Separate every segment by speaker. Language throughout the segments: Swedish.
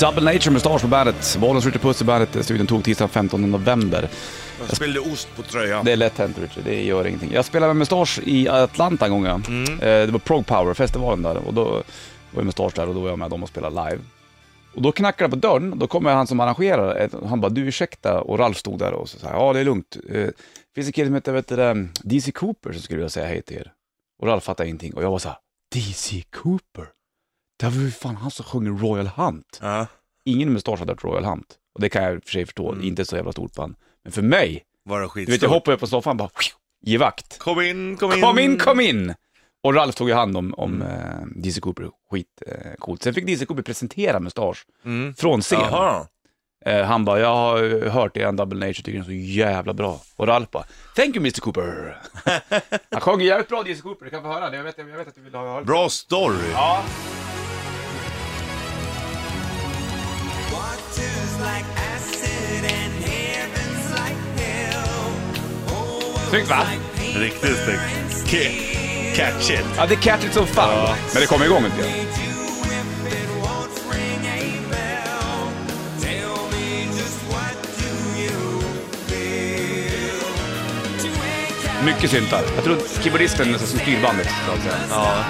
Speaker 1: Double Nature Mustasch på bandet. Bollens Richard Puss i bandet. Studion tog tisdag 15 november.
Speaker 2: Jag spillde ost på tröjan.
Speaker 1: Det är lätt hänt Richard, det gör ingenting. Jag spelade med Mustasch i Atlanta en gång. ja. Eh, Det var Prog Power-festivalen där och då var ju Mustasch där och då var jag med dem och spelade live. Och då knackade det på dörren, då kommer han som arrangerar, eh, han bara du ursäkta och Ralf stod där och så sa ja det är lugnt. Eh, Det finns en kille som heter vet du, det, DC Cooper som skulle vilja säga hej till er. Och Ralf fattade ingenting och jag var så här, DC Cooper? Det var ju fan han som sjunger Royal Hunt
Speaker 2: Ja.
Speaker 1: ingen mustasch hade hört Royal Hunt. Och det kan jag i och för sig förstå,
Speaker 2: Mm.
Speaker 1: inte så jävla stort band. Men för mig,
Speaker 2: Var det
Speaker 1: du vet jag
Speaker 2: skitstort?
Speaker 1: hoppade upp på soffan och bara "Pju!" ge vakt.
Speaker 2: Kom in, kom in. Mm.
Speaker 1: Kom in, kom in! Och Ralf tog ju hand om, om eh, DC Cooper, skitcoolt. Eh, coolt. Sen fick DC Cooper presentera mustasch
Speaker 2: Mm.
Speaker 1: från scen.
Speaker 2: Jaha.
Speaker 1: Eh, han bara, jag har eh, hört er Double Nature, tycker den är så jävla bra. Och Ralf bara, thank you Mr Cooper. han sjöng jävligt bra DC Cooper, du kan få höra det. Jag vet, jag vet att du vill ha höra det.
Speaker 2: Bra story.
Speaker 1: Ja. Snyggt va?
Speaker 2: Riktigt snyggt. Ki- Catch it.
Speaker 1: Ja, det är catchy som fan. Men det kommer igång lite grann. Mycket syntar. Jag tror att keyboardisten är nästan som styr bandet. så att säga.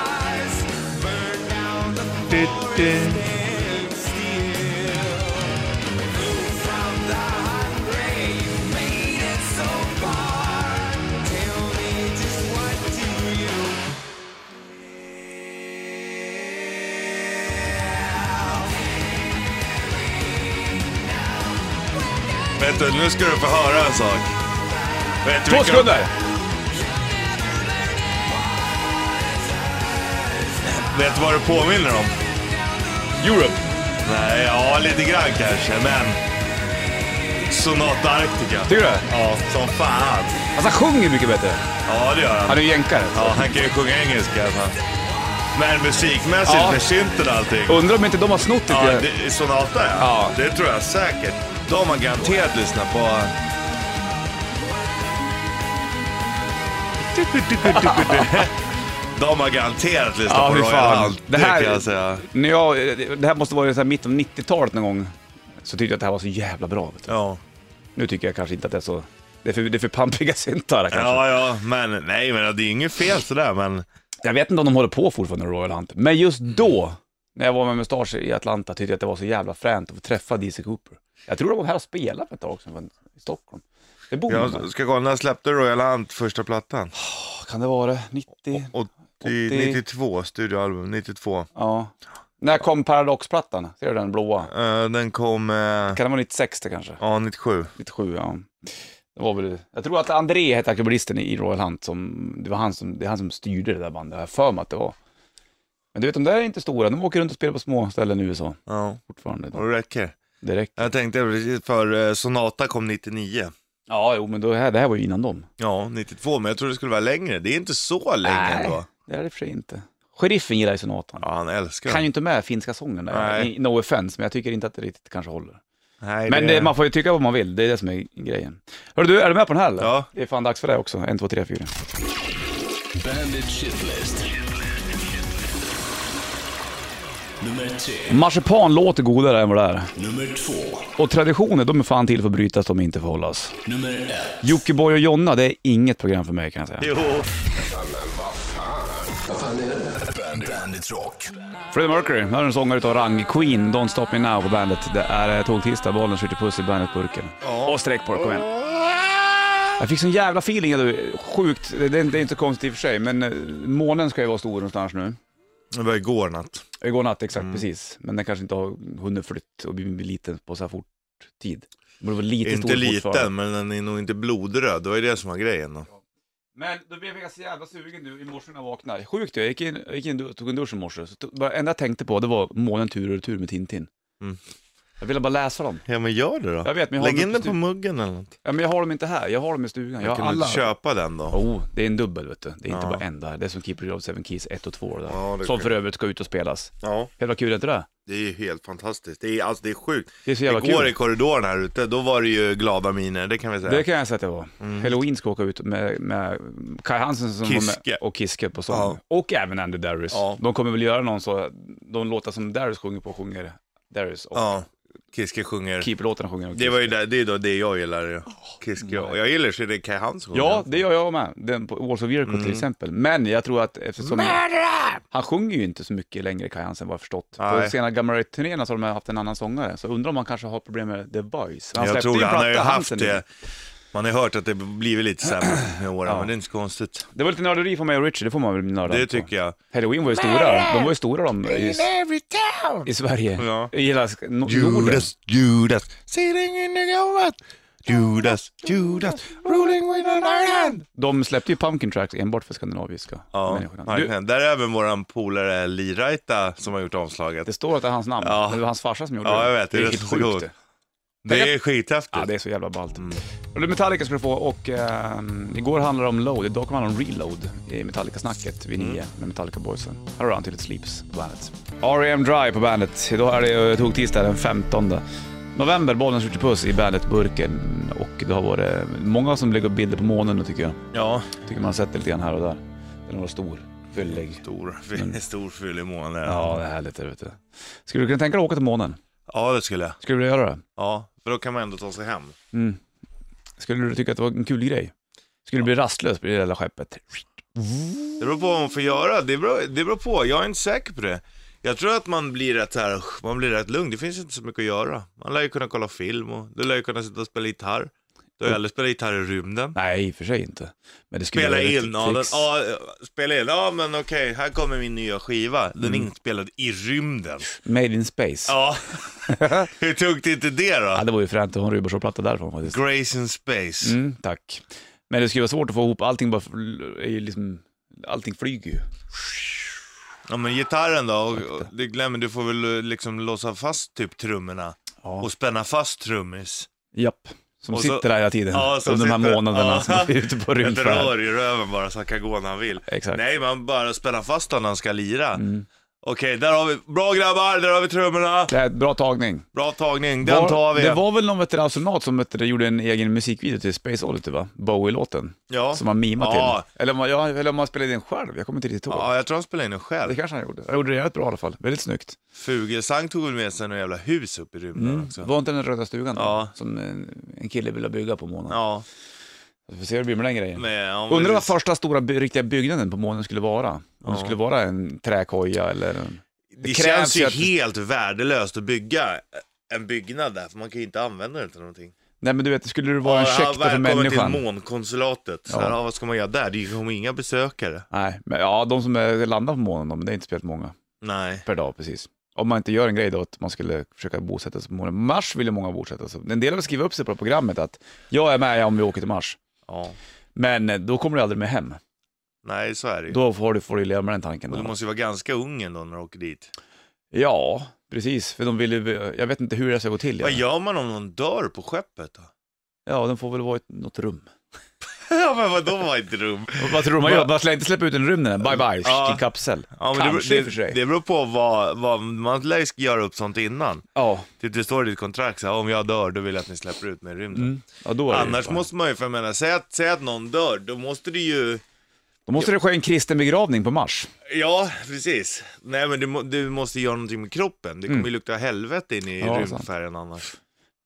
Speaker 2: Vet du, nu ska du få höra en sak. Vet du
Speaker 1: Två
Speaker 2: vilka-
Speaker 1: sekunder!
Speaker 2: Vet du vad det påminner om?
Speaker 1: Europe.
Speaker 2: Nej, ja lite grann kanske, men... Sonata Arctica.
Speaker 1: Tycker du?
Speaker 2: Ja, som fan.
Speaker 1: Alltså han sjunger mycket bättre.
Speaker 2: Ja, det gör han.
Speaker 1: Han är ju jänkare.
Speaker 2: Ja, han kan ju sjunga engelska i alla fall. Men musikmässigt
Speaker 1: Ja.
Speaker 2: med synten och allting.
Speaker 1: Undrar om inte de har snott lite.
Speaker 2: Ja, det, Sonata ja.
Speaker 1: Ja.
Speaker 2: Det tror jag säkert. De har man garanterat lyssnat på. De har garanterat lyssnat
Speaker 1: Ja,
Speaker 2: på
Speaker 1: fy
Speaker 2: Royal
Speaker 1: fan.
Speaker 2: Hunt.
Speaker 1: Det
Speaker 2: Det,
Speaker 1: här-
Speaker 2: kan jag säga.
Speaker 1: När jag, det här måste vara så här mitt av 90-talet någon gång. Så tyckte jag att det här var så jävla bra. Vet du.
Speaker 2: Ja.
Speaker 1: Nu tycker jag kanske inte att det är så... Det är för, det är för pampiga syntar kanske.
Speaker 2: ja, ja, men nej, men det är inget fel sådär, men
Speaker 1: Jag vet inte om de håller på fortfarande Royal Hunt. Men just då, när jag var med Mustasch i Atlanta, tyckte jag att det var så jävla fränt att få träffa DC Cooper. Jag tror de var här och spelade för ett tag sedan men i Stockholm. Det bor de här.
Speaker 2: jag ska kolla, när släppte Royal Hunt första plattan?
Speaker 1: Kan det vara det? 90?
Speaker 2: 80,
Speaker 1: 80.
Speaker 2: 92, studioalbum, 92.
Speaker 1: Ja. När kom Paradox-plattan? Ser du den blåa?
Speaker 2: Eh, den kom, eh,
Speaker 1: Kan det vara 96 det kanske?
Speaker 2: ja 97.
Speaker 1: 97, ja. Det var väl, jag tror att André hette akrobatisten i Royal Hunt, som, det var han som, det är han som styrde det där bandet, har jag för mig att det var. Men du vet, de där är inte stora, de åker runt och spelar på små ställen i USA
Speaker 2: Ja, och
Speaker 1: fortfarande.
Speaker 2: det räcker.
Speaker 1: Det räcker.
Speaker 2: Jag tänkte precis, för eh, Sonata kom 99.
Speaker 1: Ja, jo, men då, det här, det här var ju innan dem.
Speaker 2: Ja, 92, men jag trodde det skulle vara längre. Det är inte så länge
Speaker 1: Nej.
Speaker 2: ändå.
Speaker 1: Det är det i och för sig inte. Sheriffen gillar ju sonatan.
Speaker 2: Ja, han älskar
Speaker 1: Kan
Speaker 2: den.
Speaker 1: ju inte med finska sången där,
Speaker 2: Nej.
Speaker 1: I- no offense, men jag tycker inte att det riktigt kanske håller.
Speaker 2: Nej,
Speaker 1: Men det, man får ju tycka vad man vill, det är det som är grejen. Hörru du, är du med på den här eller?
Speaker 2: Ja.
Speaker 1: Det är fan dags för det också, en två tre fyra
Speaker 3: Bandit Shitlist. Nummer tre.
Speaker 1: Marsipan låter godare än vad det är.
Speaker 3: Nummer två.
Speaker 1: Och traditioner, de är fan till för att brytas, de är inte för att hållas.
Speaker 3: Nummer ett.
Speaker 1: Jockiboi och Jonna, det är inget program för mig kan jag säga.
Speaker 2: Jo,
Speaker 3: Bandit, Bandit Rock.
Speaker 1: Freddie Mercury, här är en sångare utav rang. Queen, Don't Stop Me Now på bandet. Det är eh, tågtisdag, bollen skjuter puss i bandetburken. Och sträck på det, kom igen. Jag fick sån jävla feeling, du. sjukt, det det är, det är inte så konstigt i och för sig, men eh, månen ska ju vara stor någonstans nu.
Speaker 2: det var igår natt.
Speaker 1: Igår natt exakt, precis. Men den kanske inte har hunnit flytt och blivit liten på så här fort tid. Den borde vara lite stor
Speaker 2: Inte
Speaker 1: fortfarande.
Speaker 2: liten, men den är nog inte blodröd. Det var ju det som var grejen då.
Speaker 1: Men då blev jag så jävla sugen nu i morse när jag vaknade. Sjukt jag gick in, jag gick in och tog en dusch i morse. Så tog, bara, enda jag tänkte på det var månen tur och retur med Tintin.
Speaker 2: Mm.
Speaker 1: Jag ville bara läsa dem.
Speaker 2: Ja, men gör det då.
Speaker 1: Jag vet, men jag har,
Speaker 2: Lägg
Speaker 1: dem
Speaker 2: in
Speaker 1: inte
Speaker 2: den
Speaker 1: på
Speaker 2: på
Speaker 1: stu-
Speaker 2: muggen eller något.
Speaker 1: ja, men jag har dem inte här, jag har dem i stugan. Jag
Speaker 2: Jag
Speaker 1: har
Speaker 2: kan
Speaker 1: alla.
Speaker 2: du köpa den då?
Speaker 1: Oh, det är en dubbel vet du. Det är inte
Speaker 2: Ja.
Speaker 1: bara en där. Det är som Keeper of Seven Keys 1 och 2 där.
Speaker 2: Ja, det är
Speaker 1: som för
Speaker 2: kul.
Speaker 1: övrigt ska ut och spelas.
Speaker 2: Ja,
Speaker 1: Jävla kul är inte det?
Speaker 2: det är ju helt fantastiskt. Det är, alltså, det är sjukt.
Speaker 1: Det är så jävla
Speaker 2: Igår
Speaker 1: kul.
Speaker 2: i korridoren här ute, då var det ju glada miner, det kan vi säga.
Speaker 1: Det kan jag säga att det var.
Speaker 2: Mm.
Speaker 1: Halloween ska åka ut med, med Kai Hansen som
Speaker 2: Kiske.
Speaker 1: var med och Kiske på sång. Och även Andy Darius.
Speaker 2: Ja.
Speaker 1: De kommer väl göra någon så, de låtar som Darius sjunger på sjunger Darius och
Speaker 2: Ja, Kiske sjunger.
Speaker 1: Keep-låtarna sjunger och
Speaker 2: Det, var ju där, det är då det jag gillar. ju. Kiske. Och jag gillar Shirley Kai Hans som
Speaker 1: Ja,
Speaker 2: sjunger.
Speaker 1: det gör jag med. Den på Walls of Jericho
Speaker 2: Mm.
Speaker 1: till exempel. Men jag tror att eftersom... Han sjunger ju inte så mycket längre, Kaj Hansen, vad jag förstått. På
Speaker 2: Nej.
Speaker 1: senare gamla turnéerna så har de haft en annan sångare, så undrar om han kanske har problem med The Voice. Han
Speaker 2: jag
Speaker 1: släppte
Speaker 2: tror
Speaker 1: ju
Speaker 2: det.
Speaker 1: en
Speaker 2: han har ju
Speaker 1: platta,
Speaker 2: haft
Speaker 1: Hansen,
Speaker 2: det.
Speaker 1: nu.
Speaker 2: Man har ju hört att det blivit lite sämre med åren, men det är inte så konstigt.
Speaker 1: Det var lite nörderi för mig och Richard, det får man väl nörda på.
Speaker 2: Det tycker jag.
Speaker 1: Halloween var ju stora. De var ju stora de i, i Sverige.
Speaker 2: Ja.
Speaker 1: I hela sk- no- Norden.
Speaker 2: Judas, Judas, sitting in the goat. Judas, Judas, ruling with an iron.
Speaker 1: De släppte ju Pumpkin Tracks enbart för skandinaviska
Speaker 2: Ja,
Speaker 1: människorna. Du,
Speaker 2: verkligen. Där är även våran polare Lee Raita som har gjort omslaget.
Speaker 1: det står att det är hans namn,
Speaker 2: Ja.
Speaker 1: men det var hans farsa som gjorde
Speaker 2: Ja,
Speaker 1: det.
Speaker 2: jag vet.
Speaker 1: Det är helt sjukt. det.
Speaker 2: Det är skithäftigt.
Speaker 1: Ja, det är så jävla ballt.
Speaker 2: Mm.
Speaker 1: Och det Metallica ska du få och ehm, igår handlade det om load, idag kommer det handla om reload i Metallica-snacket vid
Speaker 2: Mm.
Speaker 1: nio med Metallica boysen. Här har du Until It Sleeps på bandet. R.E.M. Dry på bandet. Idag är det eh, tog tisdag den 15 november, Bollnäs Ritchie Puss i bandet-burken och det har varit många som lägger upp bilder på månen nu tycker jag.
Speaker 2: Ja,
Speaker 1: Tycker man har sett det lite grann här och där. Den var stor, fyllig.
Speaker 2: stor, fy- stor fyllig måne. Ja.
Speaker 1: Mm. Ja, det är härligt där ute. Skulle du kunna tänka dig att åka till månen?
Speaker 2: ja, det skulle jag.
Speaker 1: Skulle du göra det?
Speaker 2: Ja, för då kan man ändå ta sig hem.
Speaker 1: Mm. Skulle du tycka att det var en kul grej? Skulle du bli rastlös på det där skeppet?
Speaker 2: Det beror på vad man får göra. Det beror, det beror på. Jag är inte säker på det. Jag tror att man blir rätt så här, "Ugh", man blir rätt lugn. Det finns inte så mycket att göra. Man lär ju kunna kolla film och du lär ju kunna sitta och spela gitarr. Du
Speaker 1: Mm.
Speaker 2: har ju aldrig spelat gitarr i rymden.
Speaker 1: Nej, i och för sig inte. Men det skulle
Speaker 2: Spela
Speaker 1: vara lite
Speaker 2: in, ja, den,
Speaker 1: tricks.
Speaker 2: ja, spela in, ja men okej, här kommer min nya skiva. Den
Speaker 1: Mm.
Speaker 2: är inspelad i rymden.
Speaker 1: Made in space. Ja.
Speaker 2: Ja, hur tungt är inte det då?
Speaker 1: det var ju fränt att ha en Rubershow-platta därifrån faktiskt.
Speaker 2: Grace in space.
Speaker 1: Mm, tack. Men det skulle vara svårt att få ihop allting, bara, fl- är ju liksom, allting flyger ju.
Speaker 2: Ja men gitarren då, och, och, det glömmer, du får väl eh, liksom låsa fast typ trummorna.
Speaker 1: Ja.
Speaker 2: Och spänna fast trummis.
Speaker 1: Japp. Som
Speaker 2: Och så-
Speaker 1: sitter där hela tiden
Speaker 2: Ja, som
Speaker 1: under de här
Speaker 2: sitter-
Speaker 1: månaderna
Speaker 2: ja.
Speaker 1: som är ute på
Speaker 2: Ett rör
Speaker 1: rymdfärd.
Speaker 2: i röven bara så han kan gå när han vill.
Speaker 1: Exakt.
Speaker 2: Nej, man bara spänner fast honom när han ska lira.
Speaker 1: Mm.
Speaker 2: Okej, där har vi, bra grabbar, där har vi trummorna.
Speaker 1: Det är bra tagning.
Speaker 2: Bra tagning, den
Speaker 1: Var-
Speaker 2: tar vi.
Speaker 1: Det var väl någon vet du, astronaut som vet du, gjorde en egen musikvideo till Space Oddity va? Bowie-låten.
Speaker 2: ja.
Speaker 1: Som man mimar
Speaker 2: ja.
Speaker 1: till. Eller om man, ja, eller om man spelade in själv, jag kommer inte riktigt ihåg.
Speaker 2: Ja, jag tror han spelade in den
Speaker 1: Det
Speaker 2: själv.
Speaker 1: kanske han gjorde. Han gjorde det jävligt bra i alla fall. Väldigt snyggt.
Speaker 2: Fugelsang tog väl med sig några jävla hus upp i rymden också.
Speaker 1: Mm. Var inte den röda stugan då?
Speaker 2: Ja.
Speaker 1: Som en, en kille ville bygga på månen?
Speaker 2: Ja,
Speaker 1: Vi får se hur det blir med den grejen.
Speaker 2: men... ja, men
Speaker 1: Undrar vad
Speaker 2: det-
Speaker 1: första stora by riktiga byggnaden på månen skulle vara? Om det skulle vara en träkoja eller en...
Speaker 2: Det
Speaker 1: krävs
Speaker 2: känns ju
Speaker 1: ju att-
Speaker 2: helt värdelöst att bygga en byggnad där, för man kan ju inte använda den till någonting.
Speaker 1: Nej men du vet, skulle det vara en käkt för människan?
Speaker 2: till månkonsulatet. Så här,
Speaker 1: Ja.
Speaker 2: ja, vad ska man göra där? Det kommer inga besökare.
Speaker 1: Nej, men ja, de som eh, landar på månen, de, det är inte speciellt många
Speaker 2: Nej.
Speaker 1: per dag precis. Om man inte gör en grej då att man skulle försöka bosätta sig på månen. Mars vill ju många bosätta sig. En del har skrivit upp sig på programmet att jag är med om vi åker till Mars.
Speaker 2: Ja.
Speaker 1: Men eh, då kommer du aldrig med hem.
Speaker 2: Nej, så är det ju.
Speaker 1: Då får du, får du leva med den tanken.
Speaker 2: Och
Speaker 1: då.
Speaker 2: du måste ju vara ganska ung ändå när du åker dit.
Speaker 1: Ja, precis. För de vill ju, jag vet inte hur det ska gå till.
Speaker 2: Vad
Speaker 1: Ja,
Speaker 2: gör man om någon dör på skeppet då?
Speaker 1: ja de får väl vara i något rum.
Speaker 2: ja, men vadå var ett rum?
Speaker 1: Vad tror du man
Speaker 2: Va-
Speaker 1: gör? Man slä inte släppa ut en rymd den Bye bye,
Speaker 2: Ja.
Speaker 1: ja. kapsel.
Speaker 2: Ja, men det,
Speaker 1: Kanske i och för
Speaker 2: beror- det,
Speaker 1: sig.
Speaker 2: det beror på vad, vad man lär ju göra upp sånt innan.
Speaker 1: ja.
Speaker 2: Det, det står i ditt kontrakt så här, om jag dör då vill jag att ni släpper ut mig i rymden.
Speaker 1: Mm. ja, då är det ju
Speaker 2: Annars
Speaker 1: fan.
Speaker 2: måste man ju, för jag menar, säg att, säg att någon dör, då måste du ju,
Speaker 1: Då måste det ske en kristen begravning på Mars.
Speaker 2: ja precis. Nej men du, må- du måste göra någonting med kroppen, det kommer ju lukta helvete in i
Speaker 1: Mm. Ja,
Speaker 2: rymdfärjan annars.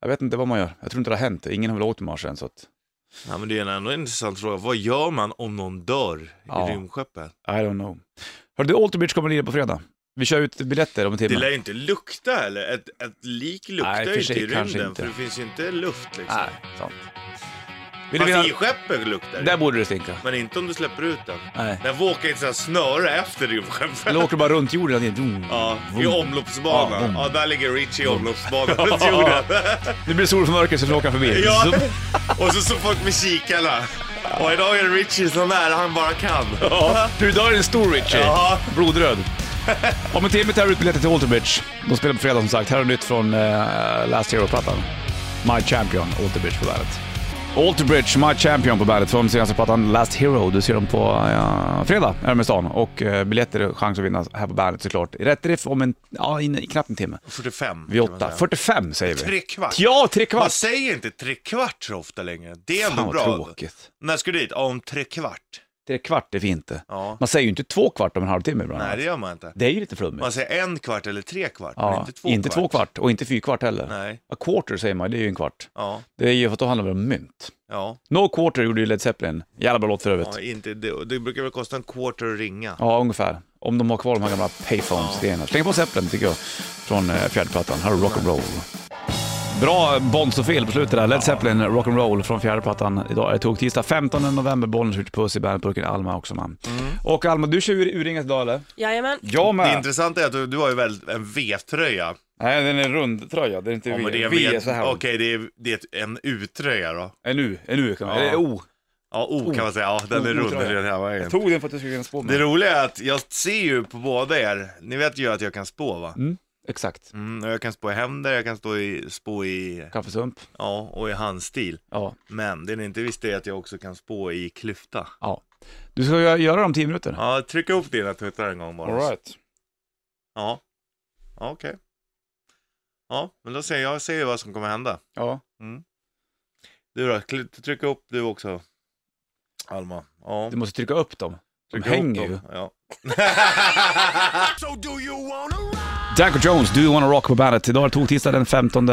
Speaker 1: Jag vet inte vad man gör. Jag tror inte det har hänt. Ingen har väl åkt till Mars än så att...
Speaker 2: Ja men det är en ändå intressant fråga, vad gör man om någon dör
Speaker 1: Ja.
Speaker 2: i rymdskeppet?
Speaker 1: I don't know. Hörru du, Alter Bridge kommer att lira på fredag. Vi kör ut biljetter om en timme.
Speaker 2: Det lär ju inte lukta heller, ett, ett lik luktar
Speaker 1: Nej, för
Speaker 2: ju inte
Speaker 1: sig
Speaker 2: i
Speaker 1: kanske
Speaker 2: rymden
Speaker 1: inte.
Speaker 2: för det finns ju inte luft liksom.
Speaker 1: Nej, sant. Vill du vinna?
Speaker 2: Fast i skeppet luktar
Speaker 1: Där
Speaker 2: det.
Speaker 1: borde det stinka.
Speaker 2: Men inte om du släpper ut den.
Speaker 1: Nej.
Speaker 2: Den våkar inte såhär snöre efter rymdskeppet.
Speaker 1: Eller åker du bara runt jorden hela tiden?
Speaker 2: Ja, i
Speaker 1: Vroom. Ja,
Speaker 2: omloppsbanan.
Speaker 1: vroom.
Speaker 2: Ja, där ligger Richie i omloppsbanan runt jorden.
Speaker 1: Nu blir det solförmörkelse så vi åker förbi.
Speaker 2: Ja.
Speaker 1: Så-
Speaker 2: Och så står folk med kikarna. Och idag är Richie så nära han bara kan.
Speaker 1: Du, idag är det en stor Richie.
Speaker 2: Ja.
Speaker 1: Blodröd. Om en timme tar vi ut biljetter till Alterbridge. De spelar på fredag som sagt. Här har nytt från eh, Last Hero-plattan. My Champion, Alterbridge på bandet. Alterbridge, My Champion på bandet från senaste plattan Last Hero. Du ser dem på eh, fredag, är de i stan. Och eh, biljetter och chans att vinna här på bandet såklart. Rätt riff om en, ja, in, knappt en timme.
Speaker 2: 45.
Speaker 1: Vid
Speaker 2: kan man
Speaker 1: åtta.
Speaker 2: säga.
Speaker 1: 45 säger vi.
Speaker 2: Tre kvart.
Speaker 1: Ja, tre kvart.
Speaker 2: Man säger inte tre kvart så ofta längre. Det är ändå
Speaker 1: Fan vad
Speaker 2: bra.
Speaker 1: tråkigt.
Speaker 2: När ska du dit? Ja, om tre kvart.
Speaker 1: Tre kvart är fint det.
Speaker 2: Ja.
Speaker 1: Man säger ju inte två kvart om en halvtimme ibland.
Speaker 2: Nej, det gör man inte.
Speaker 1: Det är ju lite flummigt.
Speaker 2: Man säger en kvart eller tre kvart, men
Speaker 1: ja.
Speaker 2: inte två kvart.
Speaker 1: och inte fyrkvart heller.
Speaker 2: Nej.
Speaker 1: A quarter säger man, det är ju en kvart.
Speaker 2: Ja,
Speaker 1: Det är ju för att då handlar det om mynt.
Speaker 2: ja.
Speaker 1: No quarter gjorde ju Led Zeppelin. Jävla bra låt för övrigt. Ja,
Speaker 2: ja inte, det, det brukar väl kosta en quarter att ringa.
Speaker 1: ungefär. Om de har kvar de här gamla payphones-grejerna. Släng på Zeppelin tycker jag. Från eh, fjärde plattan. Här har du rock'n'roll. Bra Bonzo-fel på slutet där. Led Zeppelin, rock'n'roll från fjärde plattan. Idag är det tog tisdag 15 november. Bollen skjuter puss i bandetburken. Alma också man.
Speaker 2: Mm.
Speaker 1: Och Alma, du kör ur- urringat idag eller?
Speaker 4: Jajamän.
Speaker 1: Jag
Speaker 2: Det intressanta är att du, du har ju väl en V-tröja.
Speaker 1: Nej, den är rund tröja. Det är inte
Speaker 2: Ja,
Speaker 1: V.
Speaker 2: men det är en
Speaker 1: v är
Speaker 2: V-
Speaker 1: så här.
Speaker 2: Okej, det är, det är ett- en U-tröja då.
Speaker 1: En U, en U kan man
Speaker 2: Ja.
Speaker 1: Eller O.
Speaker 2: Ja, O kan man säga. Ja, den är rund.
Speaker 1: O-tröja.
Speaker 2: den är den här vägen.
Speaker 1: Jag tog den för att du skulle kunna spå
Speaker 2: Det
Speaker 1: mig.
Speaker 2: roliga är att jag ser ju på båda er, ni vet ju att jag kan spå va?
Speaker 1: Mm. Exakt.
Speaker 2: Mm, och jag kan spå i händer, jag kan stå i, spå i,
Speaker 1: Kaffesump.
Speaker 2: ja, och i handstil.
Speaker 1: Ja.
Speaker 2: Men det ni inte visste är att jag också kan spå i klyfta.
Speaker 1: ja. Du ska göra- göra det om 10 minuter.
Speaker 2: Ja, tryck ihop dina tuttar en gång bara.
Speaker 1: Alright.
Speaker 2: Ja, ja okej. Ja, men då säger jag, jag säger vad som kommer hända.
Speaker 1: Ja.
Speaker 2: Du då, kl- tryck upp du också. Alma. Ja,
Speaker 1: Du måste trycka upp dem. De
Speaker 2: tryck
Speaker 1: hänger
Speaker 2: ihop
Speaker 1: ju.
Speaker 2: dem. Ja.
Speaker 3: So do you wanna rock?
Speaker 1: Danko Jones, Do You Wanna Rock på bandet. Idag är det tisdag den 15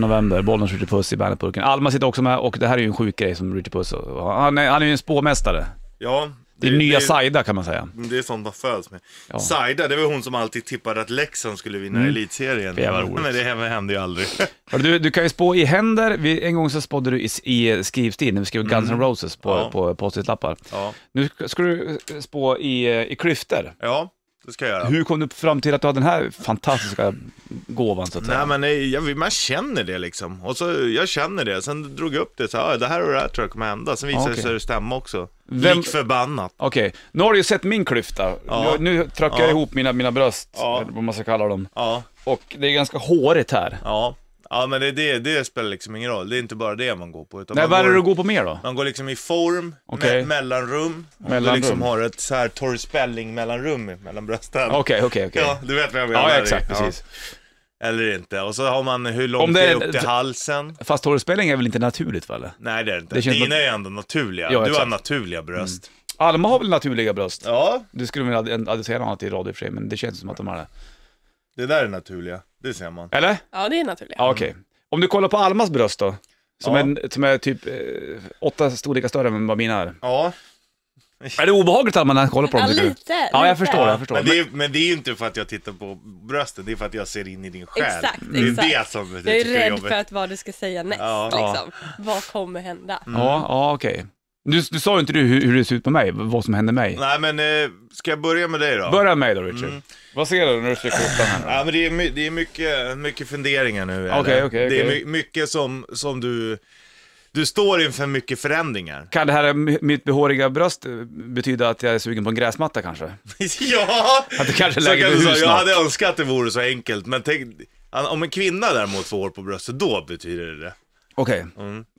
Speaker 1: november. Bollen skjuter puss i bandetburken. Alma sitter också med och det här är ju en sjuk grej som Richard Puss. och- Han är, han är ju en spåmästare.
Speaker 2: ja
Speaker 1: Det är nya Saida kan man säga.
Speaker 2: Det är sånt man föds med.
Speaker 1: Ja.
Speaker 2: Saida, det var hon som alltid tippade att Leksand skulle vinna elitserien.
Speaker 1: För jävla roligt.
Speaker 2: Men det hände- hände ju aldrig.
Speaker 1: Hörru, Du, du kan ju spå i händer. Vi, en gång så spådde du i, i skrivstil när vi skrev Guns N' Roses på,
Speaker 2: Ja.
Speaker 1: på post-it-lappar.
Speaker 2: ja.
Speaker 1: Nu ska, ska du eh, spå i, i klyftor.
Speaker 2: ja, det ska jag göra.
Speaker 1: Hur kom du fram till att du hade den här fantastiska gåvan så att säga?
Speaker 2: Nej men nej, jag, man känner det liksom. Och så, jag känner det. Sen drog jag upp det så här, "Ah, det här och det här tror jag kommer hända. Sen visade det
Speaker 1: Okej.
Speaker 2: sig att det stämma också.
Speaker 1: Vem-
Speaker 2: Lik förbannat.
Speaker 1: Okej, nu har du ju sett min klyfta.
Speaker 2: Ja.
Speaker 1: Nu, nu trycker
Speaker 2: Ja.
Speaker 1: jag ihop mina, mina bröst,
Speaker 2: Ja.
Speaker 1: eller vad man ska kalla dem.
Speaker 2: Ja,
Speaker 1: Och det är ganska hårigt här.
Speaker 2: ja. Ja men det, det, det spelar liksom ingen roll. Det är inte bara det man går på. Utan
Speaker 1: Nej,
Speaker 2: man
Speaker 1: vad är det
Speaker 2: går-
Speaker 1: du går på mer då?
Speaker 2: Man går liksom i form,
Speaker 1: Okej.
Speaker 2: me- mellanrum. Du
Speaker 1: Mellanrum.
Speaker 2: liksom har ett så här Torr Spelling-mellanrum mellan brösten.
Speaker 1: Okej, okej, okej.
Speaker 2: Ja, du vet vad jag menar.
Speaker 1: Ja, exakt, precis.
Speaker 2: Eller inte. Och så har man hur långt
Speaker 1: Om det
Speaker 2: det är
Speaker 1: är-
Speaker 2: upp till halsen.
Speaker 1: Fast hårspelning är väl inte naturligt va eller?
Speaker 2: Nej det är det inte.
Speaker 1: Det känns
Speaker 2: Dina
Speaker 1: som-
Speaker 2: är ändå naturliga.
Speaker 1: Ja,
Speaker 2: du har
Speaker 1: exakt.
Speaker 2: naturliga bröst.
Speaker 1: Alma har väl naturliga bröst?
Speaker 2: Mm. Ja,
Speaker 1: Du skulle väl ad- adressera något annat i radio i och för sig, men det känns som att de har det.
Speaker 2: det där är naturliga. Det ser man.
Speaker 1: Eller?
Speaker 4: Ja, det är naturligt.
Speaker 1: Ja, okej. Om du kollar på Almas bröst då, som,
Speaker 2: Mm. Ja.
Speaker 1: är, som är typ eh, åtta storlekar större än vad mina är.
Speaker 2: Ja,
Speaker 1: Är det obehagligt Alma när jag kollar på dem?
Speaker 4: Ja,
Speaker 1: tycker du?
Speaker 4: lite,
Speaker 1: Ja, jag
Speaker 4: lite.
Speaker 1: förstår, jag förstår.
Speaker 2: men det, är, men det är ju inte för att jag tittar på brösten, det är för att jag ser in i din själ.
Speaker 4: Exakt,
Speaker 2: Det är
Speaker 4: exakt.
Speaker 2: det som
Speaker 4: Jag är
Speaker 2: tycker
Speaker 4: rädd
Speaker 2: jobbigt.
Speaker 4: för att vad du ska säga näst,
Speaker 2: Ja. Mm.
Speaker 4: liksom. Vad kommer hända?
Speaker 1: Mm. Ja, ja okej. Du, du sa ju inte du hur, hur det ser ut på mig, vad som hände mig.
Speaker 2: Nej men, eh, ska jag börja med dig då?
Speaker 1: Börja med mig då Richard.
Speaker 2: Mm.
Speaker 1: Vad ser du när du trycker upp den här?
Speaker 2: Ja, men det är, my- det är mycket, mycket funderingar nu. eller?
Speaker 1: Okej, okej,
Speaker 2: Det är
Speaker 1: okej.
Speaker 2: my- mycket som, som du... Du står inför mycket förändringar.
Speaker 1: Kan det här m- mitt behåriga bröst eh, betyda att jag är sugen på en gräsmatta kanske?
Speaker 2: ja!
Speaker 1: Att det kanske är
Speaker 2: Så
Speaker 1: läge
Speaker 2: kan
Speaker 1: för
Speaker 2: du säga,
Speaker 1: hus
Speaker 2: jag
Speaker 1: snart?
Speaker 2: hade önskat att det vore så enkelt, men tänk, om en kvinna däremot får hår på bröstet, då betyder det det. Mm.
Speaker 1: Okej.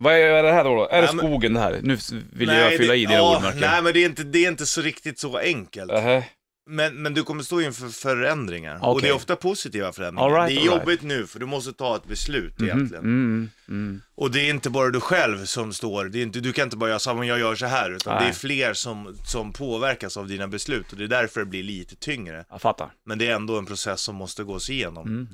Speaker 1: Vad är- är det här då? då? Är det
Speaker 2: men-
Speaker 1: skogen det här? Nu s- vill jag fylla i dina Äh.
Speaker 2: ja,
Speaker 1: ordmärken.
Speaker 2: Nej, men det är, inte, det är inte så riktigt så enkelt.
Speaker 1: Ähä.
Speaker 2: Men, men du kommer stå inför förändringar, och
Speaker 1: Okej.
Speaker 2: det är ofta positiva förändringar.
Speaker 1: All right,
Speaker 2: det är
Speaker 1: all right.
Speaker 2: jobbigt nu, för du måste ta ett beslut egentligen.
Speaker 1: Mm, mm.
Speaker 2: Och det är inte bara du själv som står, det är inte, du kan inte bara göra så här, men jag gör så här, utan
Speaker 1: Nej.
Speaker 2: det är fler som, som påverkas av dina beslut och det är därför det blir lite tyngre.
Speaker 1: Jag fattar.
Speaker 2: Men det är ändå en process som måste gås
Speaker 1: Mm.
Speaker 2: igenom.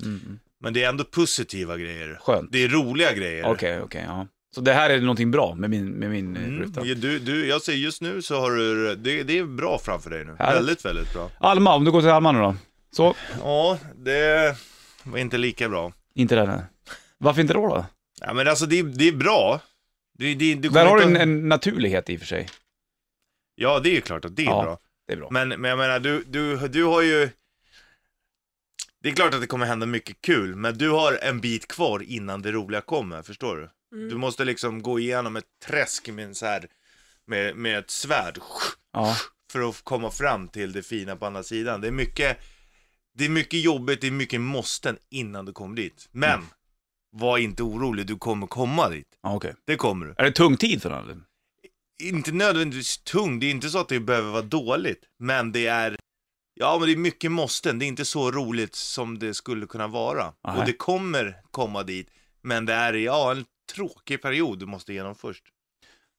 Speaker 2: Men det är ändå positiva grejer.
Speaker 1: Skönt.
Speaker 2: Det är roliga grejer.
Speaker 1: Okej, okej. ja. Så det här är någonting bra med min, med min eh,
Speaker 2: Mm.
Speaker 1: klyfta.
Speaker 2: Du, du, jag säger just nu så har du, det, det är bra framför dig nu.
Speaker 1: Härligt.
Speaker 2: Väldigt, väldigt bra.
Speaker 1: Alma, om du går till Alma nu då. Så,
Speaker 2: Ja, det var inte lika bra.
Speaker 1: inte den här. Varför inte då? då?
Speaker 2: Ja, men alltså det, är- det är bra. Det, det, det
Speaker 1: Där
Speaker 2: kommer
Speaker 1: har du
Speaker 2: inte-
Speaker 1: en, en naturlighet i och för sig.
Speaker 2: Ja, det är ju klart att det är
Speaker 1: Ja.
Speaker 2: bra.
Speaker 1: Det är bra.
Speaker 2: Men, men jag menar, du, du, du har ju... Det är klart att det kommer hända mycket kul, men du har en bit kvar innan det roliga kommer, förstår du? Du måste liksom gå igenom ett träsk med, en så här, med, med ett svärd
Speaker 1: Ja.
Speaker 2: för att komma fram till det fina på andra sidan. Det är mycket, det är mycket jobbigt, det är mycket måsten innan du kommer dit. Men, var inte orolig, du kommer komma dit.
Speaker 1: Ja, okej.
Speaker 2: Det kommer du.
Speaker 1: Är det tung tid för honom?
Speaker 2: inte nödvändigtvis tung, det är inte så att det behöver vara dåligt, men det är Ja, men det är mycket måsten. Det är inte så roligt som det skulle kunna vara.
Speaker 1: Nej.
Speaker 2: Och det kommer komma dit, men det är ja, en tråkig period du måste igenom först.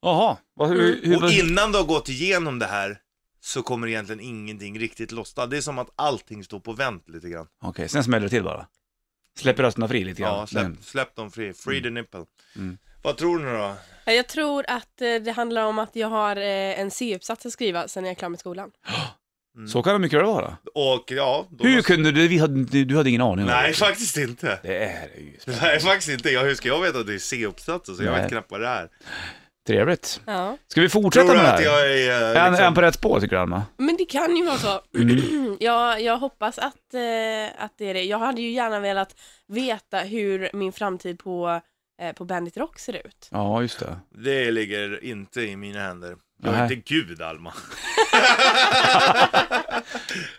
Speaker 1: Jaha. Vad- hur- hur-
Speaker 2: Mm. Och innan du har gått igenom det här så kommer egentligen ingenting riktigt lossna. Det är som att allting står på vänt lite grann.
Speaker 1: Okej, sen smäller det till bara. Släpper rösterna fri lite grann. Mm.
Speaker 2: Ja,
Speaker 1: Men-
Speaker 2: släpp, släpp dem fri. Free the nipple.
Speaker 1: Mm.
Speaker 2: Vad tror ni då?
Speaker 4: Ja, Jag tror att eh, det handlar om att jag har eh, en C-uppsats att skriva sen när jag är klar med skolan.
Speaker 1: Så kan det mycket väl vara.
Speaker 2: Och ja... Då
Speaker 1: Hur
Speaker 2: måste-
Speaker 1: kunde du? Vi hade, du, du hade ingen aning om
Speaker 2: Nej,
Speaker 1: det.
Speaker 2: faktiskt inte.
Speaker 1: Det här är ju spännande.
Speaker 2: Nej, faktiskt inte. Ja, hur ska jag veta att det är C-uppsatser? Så jag
Speaker 1: Nej.
Speaker 2: vet knappt vad det är.
Speaker 1: Trevligt.
Speaker 4: Ja.
Speaker 1: Ska vi fortsätta
Speaker 2: Tror du
Speaker 1: med det här?
Speaker 2: att jag är...
Speaker 1: Är
Speaker 2: eh,
Speaker 1: han- Är
Speaker 2: Liksom...
Speaker 1: han på rätt spår tycker du Alma? Mm.
Speaker 4: Men det kan ju vara så.
Speaker 2: Mm.
Speaker 4: jag, jag hoppas att, eh, att det är det. Jag hade ju gärna velat veta hur min framtid på, eh, på Bandit Rock ser ut.
Speaker 1: Ja, just det.
Speaker 2: Det ligger inte i mina händer. Jag är
Speaker 1: Nej.
Speaker 2: inte gud, Alma.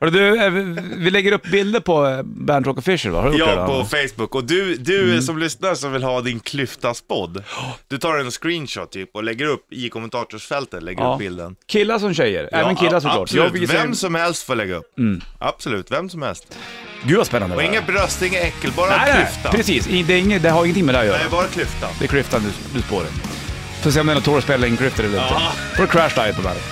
Speaker 1: Hörru, du, eh, vi- vi lägger upp bilder på eh, Band Rock Official va? Har du gjort det?
Speaker 2: Jag
Speaker 1: då, Mm.
Speaker 2: på
Speaker 1: Alma?
Speaker 2: Facebook. Och du, du som lyssnar som vill ha din klyftas podd. Du tar en screenshot typ och lägger upp i kommentatorsfältet, lägger
Speaker 1: Ja.
Speaker 2: upp bilden.
Speaker 1: Killar som tjejer, även killar
Speaker 2: a-
Speaker 1: såklart.
Speaker 2: Absolut,
Speaker 1: Jag visar-
Speaker 2: vem som helst får lägga upp.
Speaker 1: Mm.
Speaker 2: Absolut, vem som helst.
Speaker 1: Gud vad spännande
Speaker 2: Och
Speaker 1: det
Speaker 2: inga
Speaker 1: här.
Speaker 2: bröst, inga äckel, bara
Speaker 1: Nej, nej,
Speaker 2: klyfta.
Speaker 1: nej, precis. I- Det, är inget, det har ingenting med det här att göra.
Speaker 2: Nej, bara klyfta.
Speaker 1: Det är klyftan du, du spårar. Får se om det är något torr spelare in klyftor eller inte.
Speaker 2: Ja.
Speaker 1: Får Crash Diet på bandet.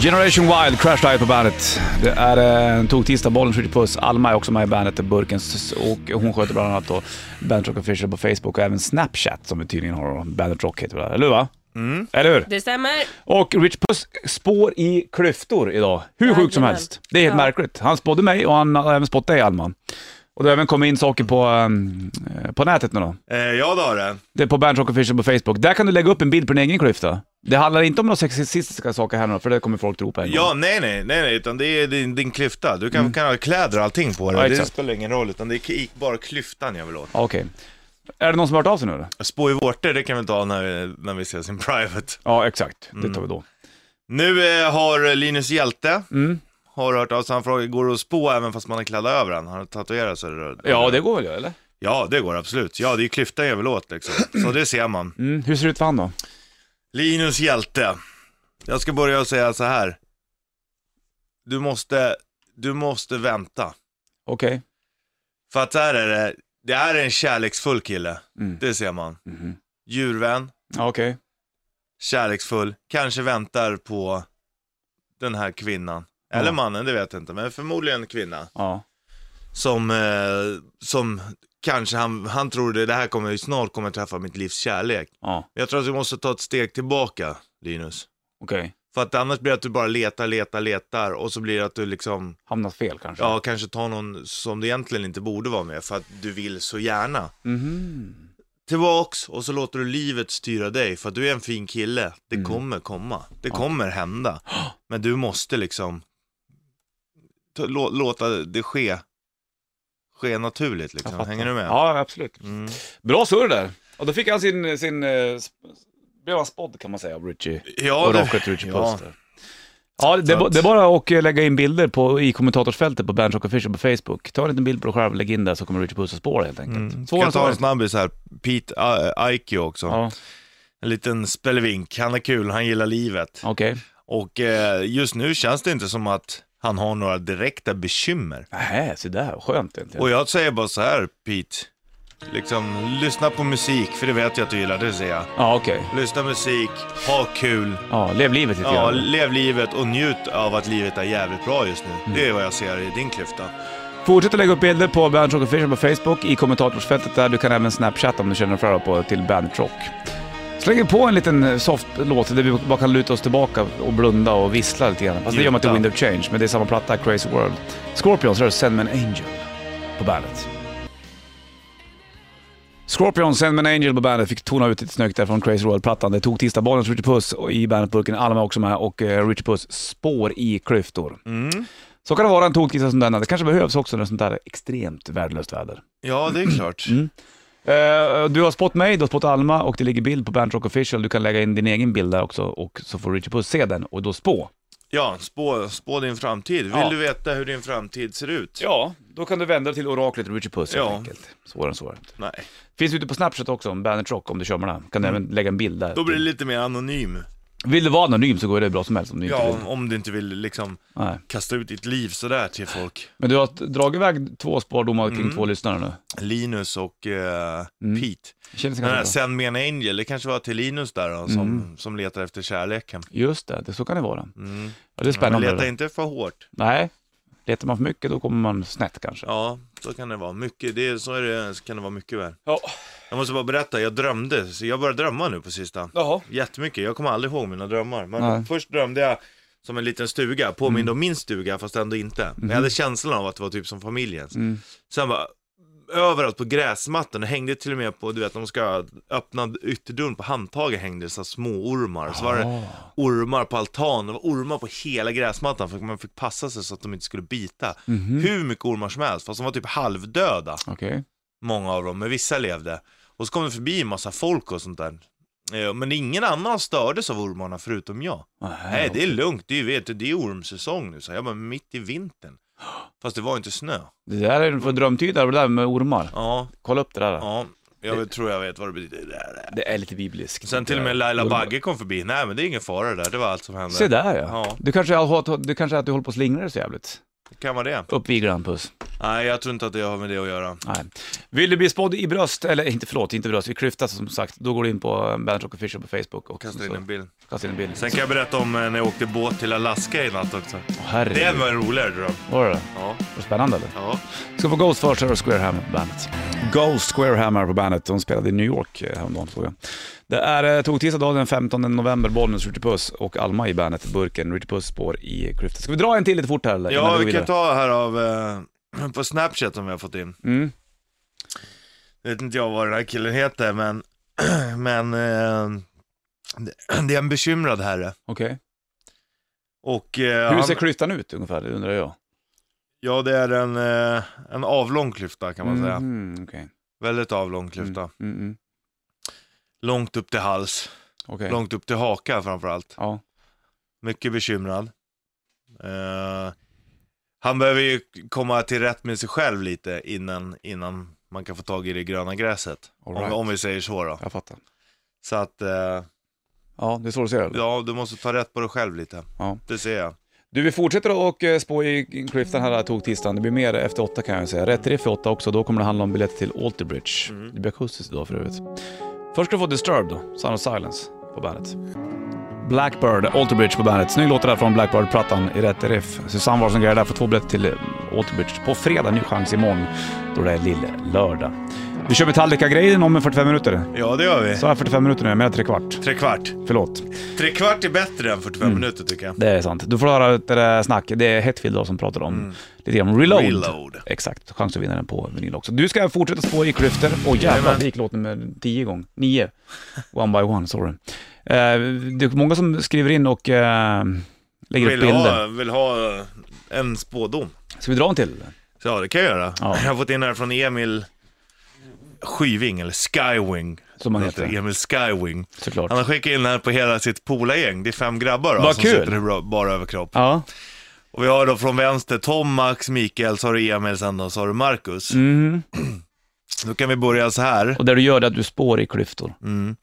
Speaker 1: Generation Wild, Crash Diet på bandet. Det är eh, en tog-tisdag, bollen skjuter puss. Alma är också med i bandet, Burkens, och hon sköter bland annat då Bandet Rock Official på Facebook och även Snapchat som vi tydligen har. då. Bandet Rock heter det där, eller hur? Va? Eller hur?
Speaker 4: Det stämmer.
Speaker 1: Och Rich Puss spår i klyftor idag. Hur sjukt som
Speaker 4: Jajamän.
Speaker 1: helst. Det är helt
Speaker 4: Ja.
Speaker 1: märkligt. Han spådde mig och han har även spått dig Alma. Och det har även kommit in saker på, eh, på nätet nu då.
Speaker 2: Eh, ja, då har det.
Speaker 1: Det är på Bernt Rock Official på Facebook. Där kan du lägga upp en bild på din egen klyfta. Det handlar inte om några sexistiska saker här nu, för det kommer folk tro på en
Speaker 2: Ja,
Speaker 1: gång.
Speaker 2: nej, nej, nej, nej, utan det är din, din klyfta. Du kan, kan ha kläder och allting på dig.
Speaker 1: Mm. Ja,
Speaker 2: det
Speaker 1: exakt.
Speaker 2: spelar ingen roll, utan det är k- bara klyftan jag vill åt.
Speaker 1: Ja. Ah, Okej. Är det någon som har hört av sig nu eller?
Speaker 2: Spå i vårtor, det kan vi ta när, när vi ses in private.
Speaker 1: Ja, exakt. Det tar vi då.
Speaker 2: Nu eh, har Linus Hjälte,
Speaker 1: Mm.
Speaker 2: har hört av sig, han frågar, går det att spå även fast man har kladdat över den? Har du tatuerat sig? eller-
Speaker 1: Ja, det går väl eller?
Speaker 2: Ja, det går absolut. Ja, det är ju klyftan jag vill åt liksom. Så det ser man.
Speaker 1: Mm. Hur ser det ut för han då?
Speaker 2: Linus Hjälte. Jag ska börja och säga så här. Du måste, du måste vänta.
Speaker 1: Okej.
Speaker 2: För att så här är det, det här är en kärleksfull kille.
Speaker 1: Mm.
Speaker 2: Det ser man.
Speaker 1: Mhm.
Speaker 2: Djurvän,
Speaker 1: Ja, Okej.
Speaker 2: kärleksfull, kanske väntar på den här kvinnan. Eller
Speaker 1: Ja.
Speaker 2: mannen, det vet jag inte, men förmodligen en kvinna.
Speaker 1: Ja.
Speaker 2: Som, eh, som kanske han, han tror det, det här kommer ju snart kommer jag träffa mitt livs kärlek.
Speaker 1: Ja.
Speaker 2: Men jag tror att du måste ta ett steg tillbaka, Linus.
Speaker 1: Okej.
Speaker 2: För att annars blir det att du bara letar, letar, letar och så blir det att du liksom,
Speaker 1: Hamnat fel kanske?
Speaker 2: ja kanske tar någon som du egentligen inte borde vara med för att du vill så gärna.
Speaker 1: Mhm.
Speaker 2: Tillbaks och så låter du livet styra dig för att du är en fin kille. Det
Speaker 1: Mm.
Speaker 2: kommer komma. Det kommer hända. Men du måste liksom ta- lå- låta det ske. Ske naturligt
Speaker 1: Jag
Speaker 2: liksom.
Speaker 1: fattar.
Speaker 2: Hänger du med?
Speaker 1: Ja, absolut.
Speaker 2: Mm.
Speaker 1: Bra surr där. Och då fick han sin, sin, eh, sp- blev han spådd kan man säga av Richie.
Speaker 2: Ja,
Speaker 1: och
Speaker 2: det-
Speaker 1: Rocket Richie
Speaker 2: ja.
Speaker 1: Puss där. Ja, det, är ba- det är bara att eh, lägga in bilder på, i kommentatorsfältet på Bandrock Official på Facebook. Ta en liten bild på dig själv, lägg in där så kommer Richie Puss att spåra helt enkelt.
Speaker 2: Mm. Ska
Speaker 1: Svårare än
Speaker 2: jag
Speaker 1: så är
Speaker 2: ta
Speaker 1: det
Speaker 2: en
Speaker 1: inte.
Speaker 2: snabbis här? Pete A- Aikio också.
Speaker 1: Ja,
Speaker 2: En liten spelevink. Han är kul, han gillar livet.
Speaker 1: okej.
Speaker 2: Och eh, just nu känns det inte som att han har några direkta bekymmer.
Speaker 1: Nähä, se där, skönt egentligen.
Speaker 2: Och jag säger bara så här, Pete. Liksom, lyssna på musik, för det vet jag att du gillar, det säger jag.
Speaker 1: Ja, okej.
Speaker 2: Lyssna musik, ha kul,
Speaker 1: Ja, lev livet lite
Speaker 2: ja,
Speaker 1: grann.
Speaker 2: lev livet och njut av att livet är jävligt bra just nu.
Speaker 1: Mm.
Speaker 2: Det är vad jag ser i din klyfta.
Speaker 1: Fortsätt att lägga upp bilder på Bandit Rock Official på Facebook, i kommentatorsfältet där. Du kan även snapchatta om du känner dig för på till Bandit Rock. Slänger på en liten eh, soft låt där vi bara kan luta oss tillbaka och blunda och vissla lite grann. Fast det gör man till
Speaker 2: Njuta.
Speaker 1: Wind of Change, men det är samma platta, Crazy World. Scorpions rör Send Me An Angel på bandet. Scorpion, Send Me An Angel på bandet, fick tona ut lite snyggt där från Crazy World-plattan. Det tog tisdag, Bollens Richard Puss och i bandetburken, Alma också med och eh, Richard Puss spår i klyftor. Så kan det vara en toktisdag som denna. Det kanske behövs också när sånt där är extremt värdelöst väder.
Speaker 2: Ja, det är klart.
Speaker 1: Mm. Eh, du har spått mig, du har spått Alma och det ligger bild på Bandrock Official. Du kan lägga in din egen bild där också och så får Richie Puss se den och då spå.
Speaker 2: Ja, spå, spå din framtid. Vill
Speaker 1: Ja.
Speaker 2: du veta hur din framtid ser ut?
Speaker 1: Ja, då kan du vända dig till oraklet Richie Puss helt
Speaker 2: Ja.
Speaker 1: enkelt. Svårare än så är det inte.
Speaker 2: Nej,
Speaker 1: Mm. Finns ute på Snapchat också, om Bandit Rock om du kör med den. Kan du även lägga en bild där.
Speaker 2: då blir det lite mer anonym.
Speaker 1: Vill du vara anonym så går det bra som helst om du inte
Speaker 2: Ja,
Speaker 1: vill.
Speaker 2: om, om du inte vill liksom
Speaker 1: Nej.
Speaker 2: kasta ut ditt liv sådär till folk.
Speaker 1: Men du har dragit iväg två spardomar kring
Speaker 2: Mm.
Speaker 1: två lyssnare nu.
Speaker 2: Linus och eh,
Speaker 1: Mm.
Speaker 2: Pete.
Speaker 1: Det känns
Speaker 2: Den här
Speaker 1: ganska bra. Mm.
Speaker 2: Send me an angel, det kanske var till Linus där då, som, som letar efter kärleken.
Speaker 1: Just det, det, så kan det vara.
Speaker 2: Mm.
Speaker 1: Ja, det är
Speaker 2: Men
Speaker 1: spännande. det
Speaker 2: leta
Speaker 1: där.
Speaker 2: inte för hårt.
Speaker 1: Nej, letar man för mycket då kommer man snett kanske.
Speaker 2: Ja, så kan det vara. Mycket, det, är- så, är det, så kan det vara mycket värre.
Speaker 1: Ja.
Speaker 2: Jag måste bara berätta, jag drömde. Så jag började drömma nu på sista.
Speaker 1: Jaha.
Speaker 2: Jättemycket, jag kommer aldrig ihåg mina drömmar. Men
Speaker 1: Nej.
Speaker 2: först drömde jag som en liten stuga, påminde om min stuga fast ändå inte. Men jag hade känslan av att det var typ som familjens.
Speaker 1: Mhm. Mm.
Speaker 2: Sen bara, överallt på gräsmattan, det hängde till och med på, du vet när man ska öppna ytterdörren på handtaget hängde det så här små ormar. Så var
Speaker 1: Ah.
Speaker 2: det ormar på altanen, det var ormar på hela gräsmattan för man fick passa sig så att de inte skulle bita.
Speaker 1: Mhm.
Speaker 2: Hur mycket ormar som helst, fast de var typ halvdöda
Speaker 1: Okej.
Speaker 2: många av dem, men vissa levde. Och så kom det förbi en massa folk och sånt där. Eh, Men ingen annan stördes av ormarna förutom jag. Nej, det är lugnt, det är, vet du, det är ormsäsong nu, så jag bara mitt i vintern. Fast det var inte snö.
Speaker 1: Det där är för drömtydare, det där med ormar.
Speaker 2: Ja,
Speaker 1: Kolla upp det där.
Speaker 2: ja, jag tror jag vet vad det betyder.
Speaker 1: Det är lite bibliskt.
Speaker 2: Sen till och med Laila Bagge kom förbi, nej men det är ingen fara där, det var allt som hände.
Speaker 1: Se där ja.
Speaker 2: Ja.
Speaker 1: Du kanske har, du kanske är att du håller på att slingra dig så jävligt.
Speaker 2: Det kan vara det.
Speaker 1: Uppvigla en puss.
Speaker 2: Nej, jag tror inte att det har med det att göra.
Speaker 1: Nej. Vill du bli spådd i bröst, eller inte förlåt, inte bröst, i klyfta som sagt, då går du in på eh, Bandit Rock Official på Facebook och
Speaker 2: Kasta
Speaker 1: så-
Speaker 2: in en bild.
Speaker 1: kasta in en bild.
Speaker 2: Sen kan jag berätta om eh, när jag åkte båt till Alaska i natt också.
Speaker 1: Åh,
Speaker 2: Det
Speaker 1: Herregud.
Speaker 2: var en roligare dröm.
Speaker 1: Var det det?
Speaker 2: Ja,
Speaker 1: Var det spännande eller?
Speaker 2: ja.
Speaker 1: Vi ska få Ghost först, här och Square Hammer på bandet. Ghost Square Hammer på bandet, de spelade i New York eh, häromdagen såg jag. Det är eh, tog tisdag dag den 15 november, Bollnäs, Ritchie Puss och Alma i bandet, Burken, Ritchie Puss spår i klyfta. Ska vi dra en till lite fort här eller? Innan
Speaker 2: Ja,
Speaker 1: går
Speaker 2: vi kan
Speaker 1: vidare.
Speaker 2: ta här av eh, på Snapchat som vi har fått in.
Speaker 1: Mm.
Speaker 2: Jag vet inte jag vad den här killen heter, men, men eh, det- det är en bekymrad herre.
Speaker 1: Okej.
Speaker 2: Och, eh,
Speaker 1: Hur
Speaker 2: han-
Speaker 1: ser klyftan ut ungefär, det undrar jag.
Speaker 2: ja, det är en, eh, en avlång klyfta kan man säga.
Speaker 1: Mhm, okej.
Speaker 2: Väldigt avlång klyfta.
Speaker 1: Mm, mm,
Speaker 2: Långt upp till hals,
Speaker 1: okej.
Speaker 2: långt upp till haka framförallt.
Speaker 1: Ja.
Speaker 2: Mycket bekymrad. Eh, han behöver ju komma till rätt med sig själv lite innan, innan man kan få tag i det gröna gräset.
Speaker 1: All
Speaker 2: Om,
Speaker 1: right.
Speaker 2: om vi säger så då.
Speaker 1: Jag fattar.
Speaker 2: Så att, eh,
Speaker 1: Ja, det är så du ser det?
Speaker 2: ja du måste ta rätt på dig själv lite.
Speaker 1: Ja.
Speaker 2: Det ser jag.
Speaker 1: Du, vi fortsätter och eh, spå i klyftan här tog tisdagen. Det blir mer efter åtta kan jag säga. Rätt riff för åtta också, då kommer det handla om biljetter till Alterbridge. Det blir akustiskt idag för övrigt. Först ska du få Disturbed då, Sound of Silence på bandet. Blackbird, Alterbridge på bandet. Snygg låt det där från Blackbird-plattan i rätt riff. Susanne Wahlsson grejer där, får två biljetter till eh, Alterbridge på fredag. Ny chans imorgon, då det är lill-lördag. Vi kör Metallica-grejen om 45 minuter.
Speaker 2: Ja det gör vi.
Speaker 1: Så här 45 minuter nu, mer tre kvart.
Speaker 2: Tre kvart.
Speaker 1: Förlåt.
Speaker 2: Tre kvart är bättre än 45
Speaker 1: Mm.
Speaker 2: minuter tycker jag.
Speaker 1: Det är sant. Du får höra ett äh, snack. Det är Hetfield då som pratar om lite grann om reload.
Speaker 2: Mm. Reload.
Speaker 1: Exakt, chans att vinna den på vinyl också. Du ska fortsätta spå i klyftor. Åh jävlar,
Speaker 2: Jajamän.
Speaker 1: det gick låt nummer tio gång. Nio. One by one, sorry. Eh, det är många som skriver in och eh, lägger upp
Speaker 2: Vill
Speaker 1: bilder.
Speaker 2: ha, vill ha eh, en spådom.
Speaker 1: Ska vi dra en till?
Speaker 2: Så ja det kan jag göra.
Speaker 1: Ja.
Speaker 2: Jag har fått in här från Emil Skyving, eller Skywing.
Speaker 1: Som han
Speaker 2: Han heter
Speaker 1: heter,
Speaker 2: Emil Skywing.
Speaker 1: såklart.
Speaker 2: Han har skickat in här på hela sitt polagäng. Det är fem grabbar då,
Speaker 1: Vad
Speaker 2: som
Speaker 1: kul.
Speaker 2: sitter i bra- bara överkropp.
Speaker 1: Ja,
Speaker 2: Och vi har då från vänster Tom, Max, Mikael, så har du Emil, sen då, så har du Marcus.
Speaker 1: mm.
Speaker 2: Då kan vi börja så här.
Speaker 1: och det du gör det är att du spår i klyftor.
Speaker 2: Mm.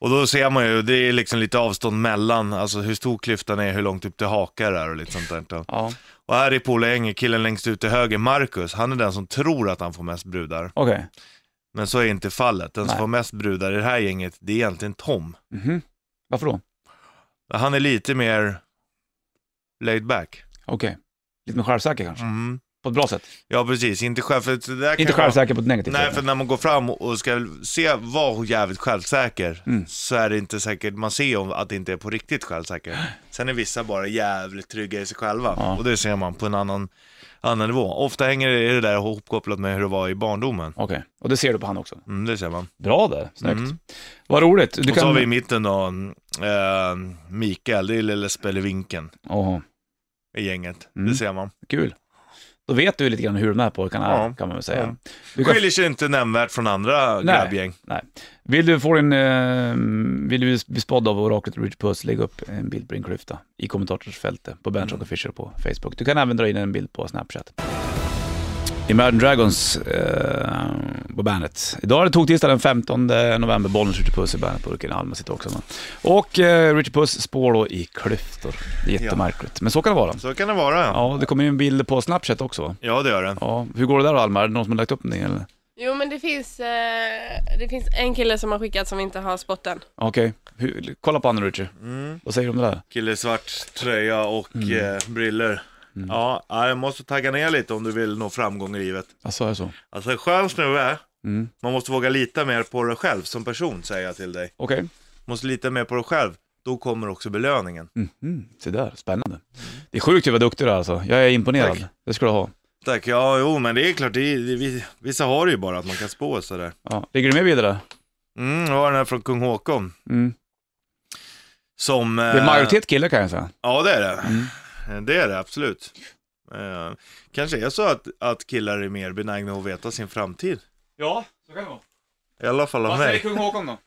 Speaker 2: Och då ser man ju, det är liksom lite avstånd mellan, alltså hur stor klyftan är, hur långt upp till hakar är och lite sånt där. då.
Speaker 1: Ja.
Speaker 2: Och här i Polänge, killen längst ut till höger, Marcus, han är den som tror att han får mest brudar.
Speaker 1: Okej.
Speaker 2: Men så är inte fallet. Den
Speaker 1: Nej.
Speaker 2: som får mest brudar i det här gänget, det är egentligen Tom.
Speaker 1: Mhm. Varför då?
Speaker 2: Han är lite mer laid back.
Speaker 1: Okej. Lite mer självsäker kanske?
Speaker 2: Mm.
Speaker 1: På ett bra sätt?
Speaker 2: Ja, precis. Inte själv... För det där
Speaker 1: Inte
Speaker 2: kan vara-
Speaker 1: självsäker på ett negativt
Speaker 2: Nej,
Speaker 1: sätt?
Speaker 2: för när man går fram och ska se var hon jävligt självsäker
Speaker 1: Mm.
Speaker 2: så är det inte säkert, man ser om att det inte är på riktigt självsäker. Sen är vissa bara jävligt trygga i sig själva
Speaker 1: Ja.
Speaker 2: och det ser man på en annan, annan nivå. Ofta hänger det, är det där ihopkopplat med hur det var i barndomen.
Speaker 1: Okej, och det ser du på han också?
Speaker 2: Mm, det ser man.
Speaker 1: Bra där, snyggt.
Speaker 2: Mm.
Speaker 1: Vad roligt. Du
Speaker 2: och så har vi i mitten då, eh, Mikael, det är lille Spelevinken
Speaker 1: Jaha,
Speaker 2: i gänget.
Speaker 1: Mm.
Speaker 2: Det ser man.
Speaker 1: kul. Då vet du lite grann hur de här pojkarna är,
Speaker 2: Ja.
Speaker 1: kan man väl säga.
Speaker 2: Ja.
Speaker 1: Du kan...
Speaker 2: Skiljer sig inte nämnvärt från andra
Speaker 1: Nej.
Speaker 2: grabbgäng.
Speaker 1: Nej. Vill du få din, eh, vill du bli spådd av oraklet Ridge Puss, lägg upp en bild på din klyfta i kommentatorsfältet på Bench mm. Fisher på Facebook. Du kan även dra in en bild på Snapchat. Imagine Dragons eh, på på Bandet. Idag är det toktisdag den 15 november, Bollnäs Richard Puss i Bandet på Ulricehamn sitter också. Man. Och eh, Richard Puss spår då i klyftor. Det är jättemärkligt, men så kan det vara.
Speaker 2: Så kan det vara. Ja,
Speaker 1: Ja, det kommer ju en bild på Snapchat också. va?
Speaker 2: ja det gör det.
Speaker 1: Ja, hur går det där då Alma? Är det någon som har lagt upp någonting eller?
Speaker 4: Jo men det finns, eh, det finns en kille som har skickat som inte har spotten.
Speaker 1: Okej, Hur- kolla på Anna Richie.
Speaker 2: Mm.
Speaker 1: Vad säger du om det där?
Speaker 2: Kille i svart tröja och
Speaker 1: Mm.
Speaker 2: eh, briller. Ja, ja, jag måste tagga ner lite om du vill nå framgång i livet.
Speaker 1: Alltså, är det så?
Speaker 2: Alltså en skön snubbe,
Speaker 1: Mm.
Speaker 2: man måste våga lita mer på dig själv som person säger jag till dig.
Speaker 1: Okej.
Speaker 2: Måste lita mer på dig själv, då kommer också belöningen.
Speaker 1: Mhm, se där, spännande. Det är sjukt hur vad duktig du är alltså. Jag är imponerad.
Speaker 2: Tack.
Speaker 1: Det ska du ha.
Speaker 2: Tack, ja jo men det är klart, det, det, vi- vissa har det ju bara att man kan spå sådär.
Speaker 1: Ja. Ligger du med vidare? där?
Speaker 2: Mm, jag har den här från kung Håkon.
Speaker 1: Mm.
Speaker 2: Som... eh,
Speaker 1: Det är majoritet killar kan jag säga. Mm.
Speaker 2: Ja, det är det. Det är det absolut. Eh, kanske är så att, att killar är mer benägna att veta sin framtid.
Speaker 1: Ja, så kan det vara.
Speaker 2: I alla fall av mig.
Speaker 1: kung Håkon då?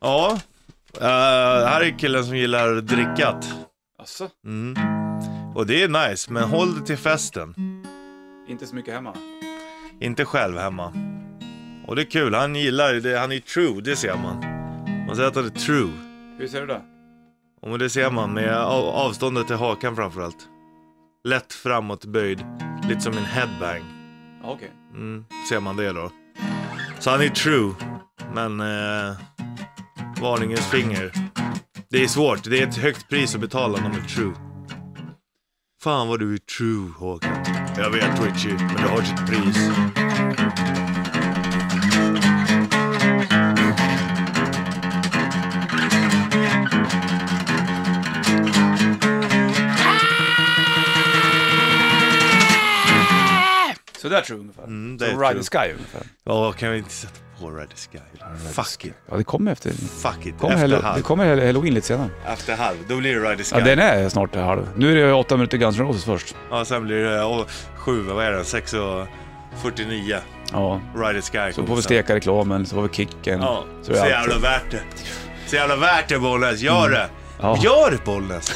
Speaker 2: Ja. Eh, här är killen som gillar drickat.
Speaker 1: Alltså,
Speaker 2: Mm. Och det är nice, men håll det till festen.
Speaker 1: inte så mycket hemma.
Speaker 2: Inte själv hemma. Och det är kul, han gillar det. Han är true, det ser man. Man säger att han är true.
Speaker 1: Hur ser du det?
Speaker 2: Och men det ser man med av- avståndet till hakan framförallt. Lätt framåtböjd, lite som en headbang.
Speaker 1: Ja, okej.
Speaker 2: Mm, ser man det då. Så han är true. Men eh, varningens finger. Det är svårt. Det är ett högt pris att betala när man är true. Fan vad du är true Håkan. Jag vet Richie, men det har sitt pris.
Speaker 1: Så där tror jag ungefär.
Speaker 2: Mm, det
Speaker 1: Som
Speaker 2: är
Speaker 1: Ride
Speaker 2: true.
Speaker 1: the Sky ungefär.
Speaker 2: Ja, kan vi inte sätta på Red Sky? Fuck it,
Speaker 1: Ja, det kommer efter.
Speaker 2: fuck it.
Speaker 1: Kommer
Speaker 2: Efter
Speaker 1: hello, det
Speaker 2: halv.
Speaker 1: kommer hell- halloween lite senare.
Speaker 2: Efter halv, då blir det Red Sky.
Speaker 1: Ja, den är snart halv. Nu är det åtta minuter Guns N' Roses först.
Speaker 2: Ja, sen blir det eh, åh, sju, vad är det? Sex och 49.
Speaker 1: Ja.
Speaker 2: Red Sky.
Speaker 1: Så får vi steka reklamen, så får vi kicken.
Speaker 2: Ja,
Speaker 1: Så
Speaker 2: så
Speaker 1: är allt.
Speaker 2: jävla värt det. Så jävla värt det Bollnäs, gör det!
Speaker 1: Ja.
Speaker 2: Gör det Bollnäs!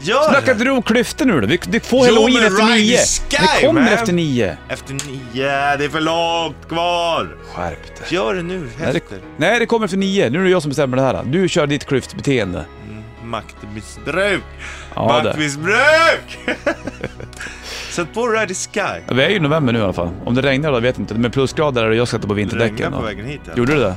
Speaker 2: Gör
Speaker 1: Snacka
Speaker 2: det!
Speaker 1: inte du om klyftor nu då? Vi, vi får
Speaker 2: Jo,
Speaker 1: halloween
Speaker 2: men
Speaker 1: efter
Speaker 2: Rise
Speaker 1: nio.
Speaker 2: Sky,
Speaker 1: det kommer
Speaker 2: man.
Speaker 1: efter nio.
Speaker 2: Efter nio, det är för långt kvar!
Speaker 1: Skärp dig.
Speaker 2: Gör det nu,
Speaker 1: Nej det,
Speaker 2: efter
Speaker 1: nej, det kommer efter nio. Nu är det jag som bestämmer det här. Du kör ditt klyftbeteende.
Speaker 2: maktmissbruk!
Speaker 1: Ja, det.
Speaker 2: maktmissbruk! Sätt på Red Sky.
Speaker 1: Vi är ju i november nu i alla fall. Om det regnar då vet jag inte. Men plusgrader är det jag ska ta på vinterdäcken.
Speaker 2: Regnade
Speaker 1: då.
Speaker 2: på Mm. vägen hit. ja.
Speaker 1: Gjorde du det?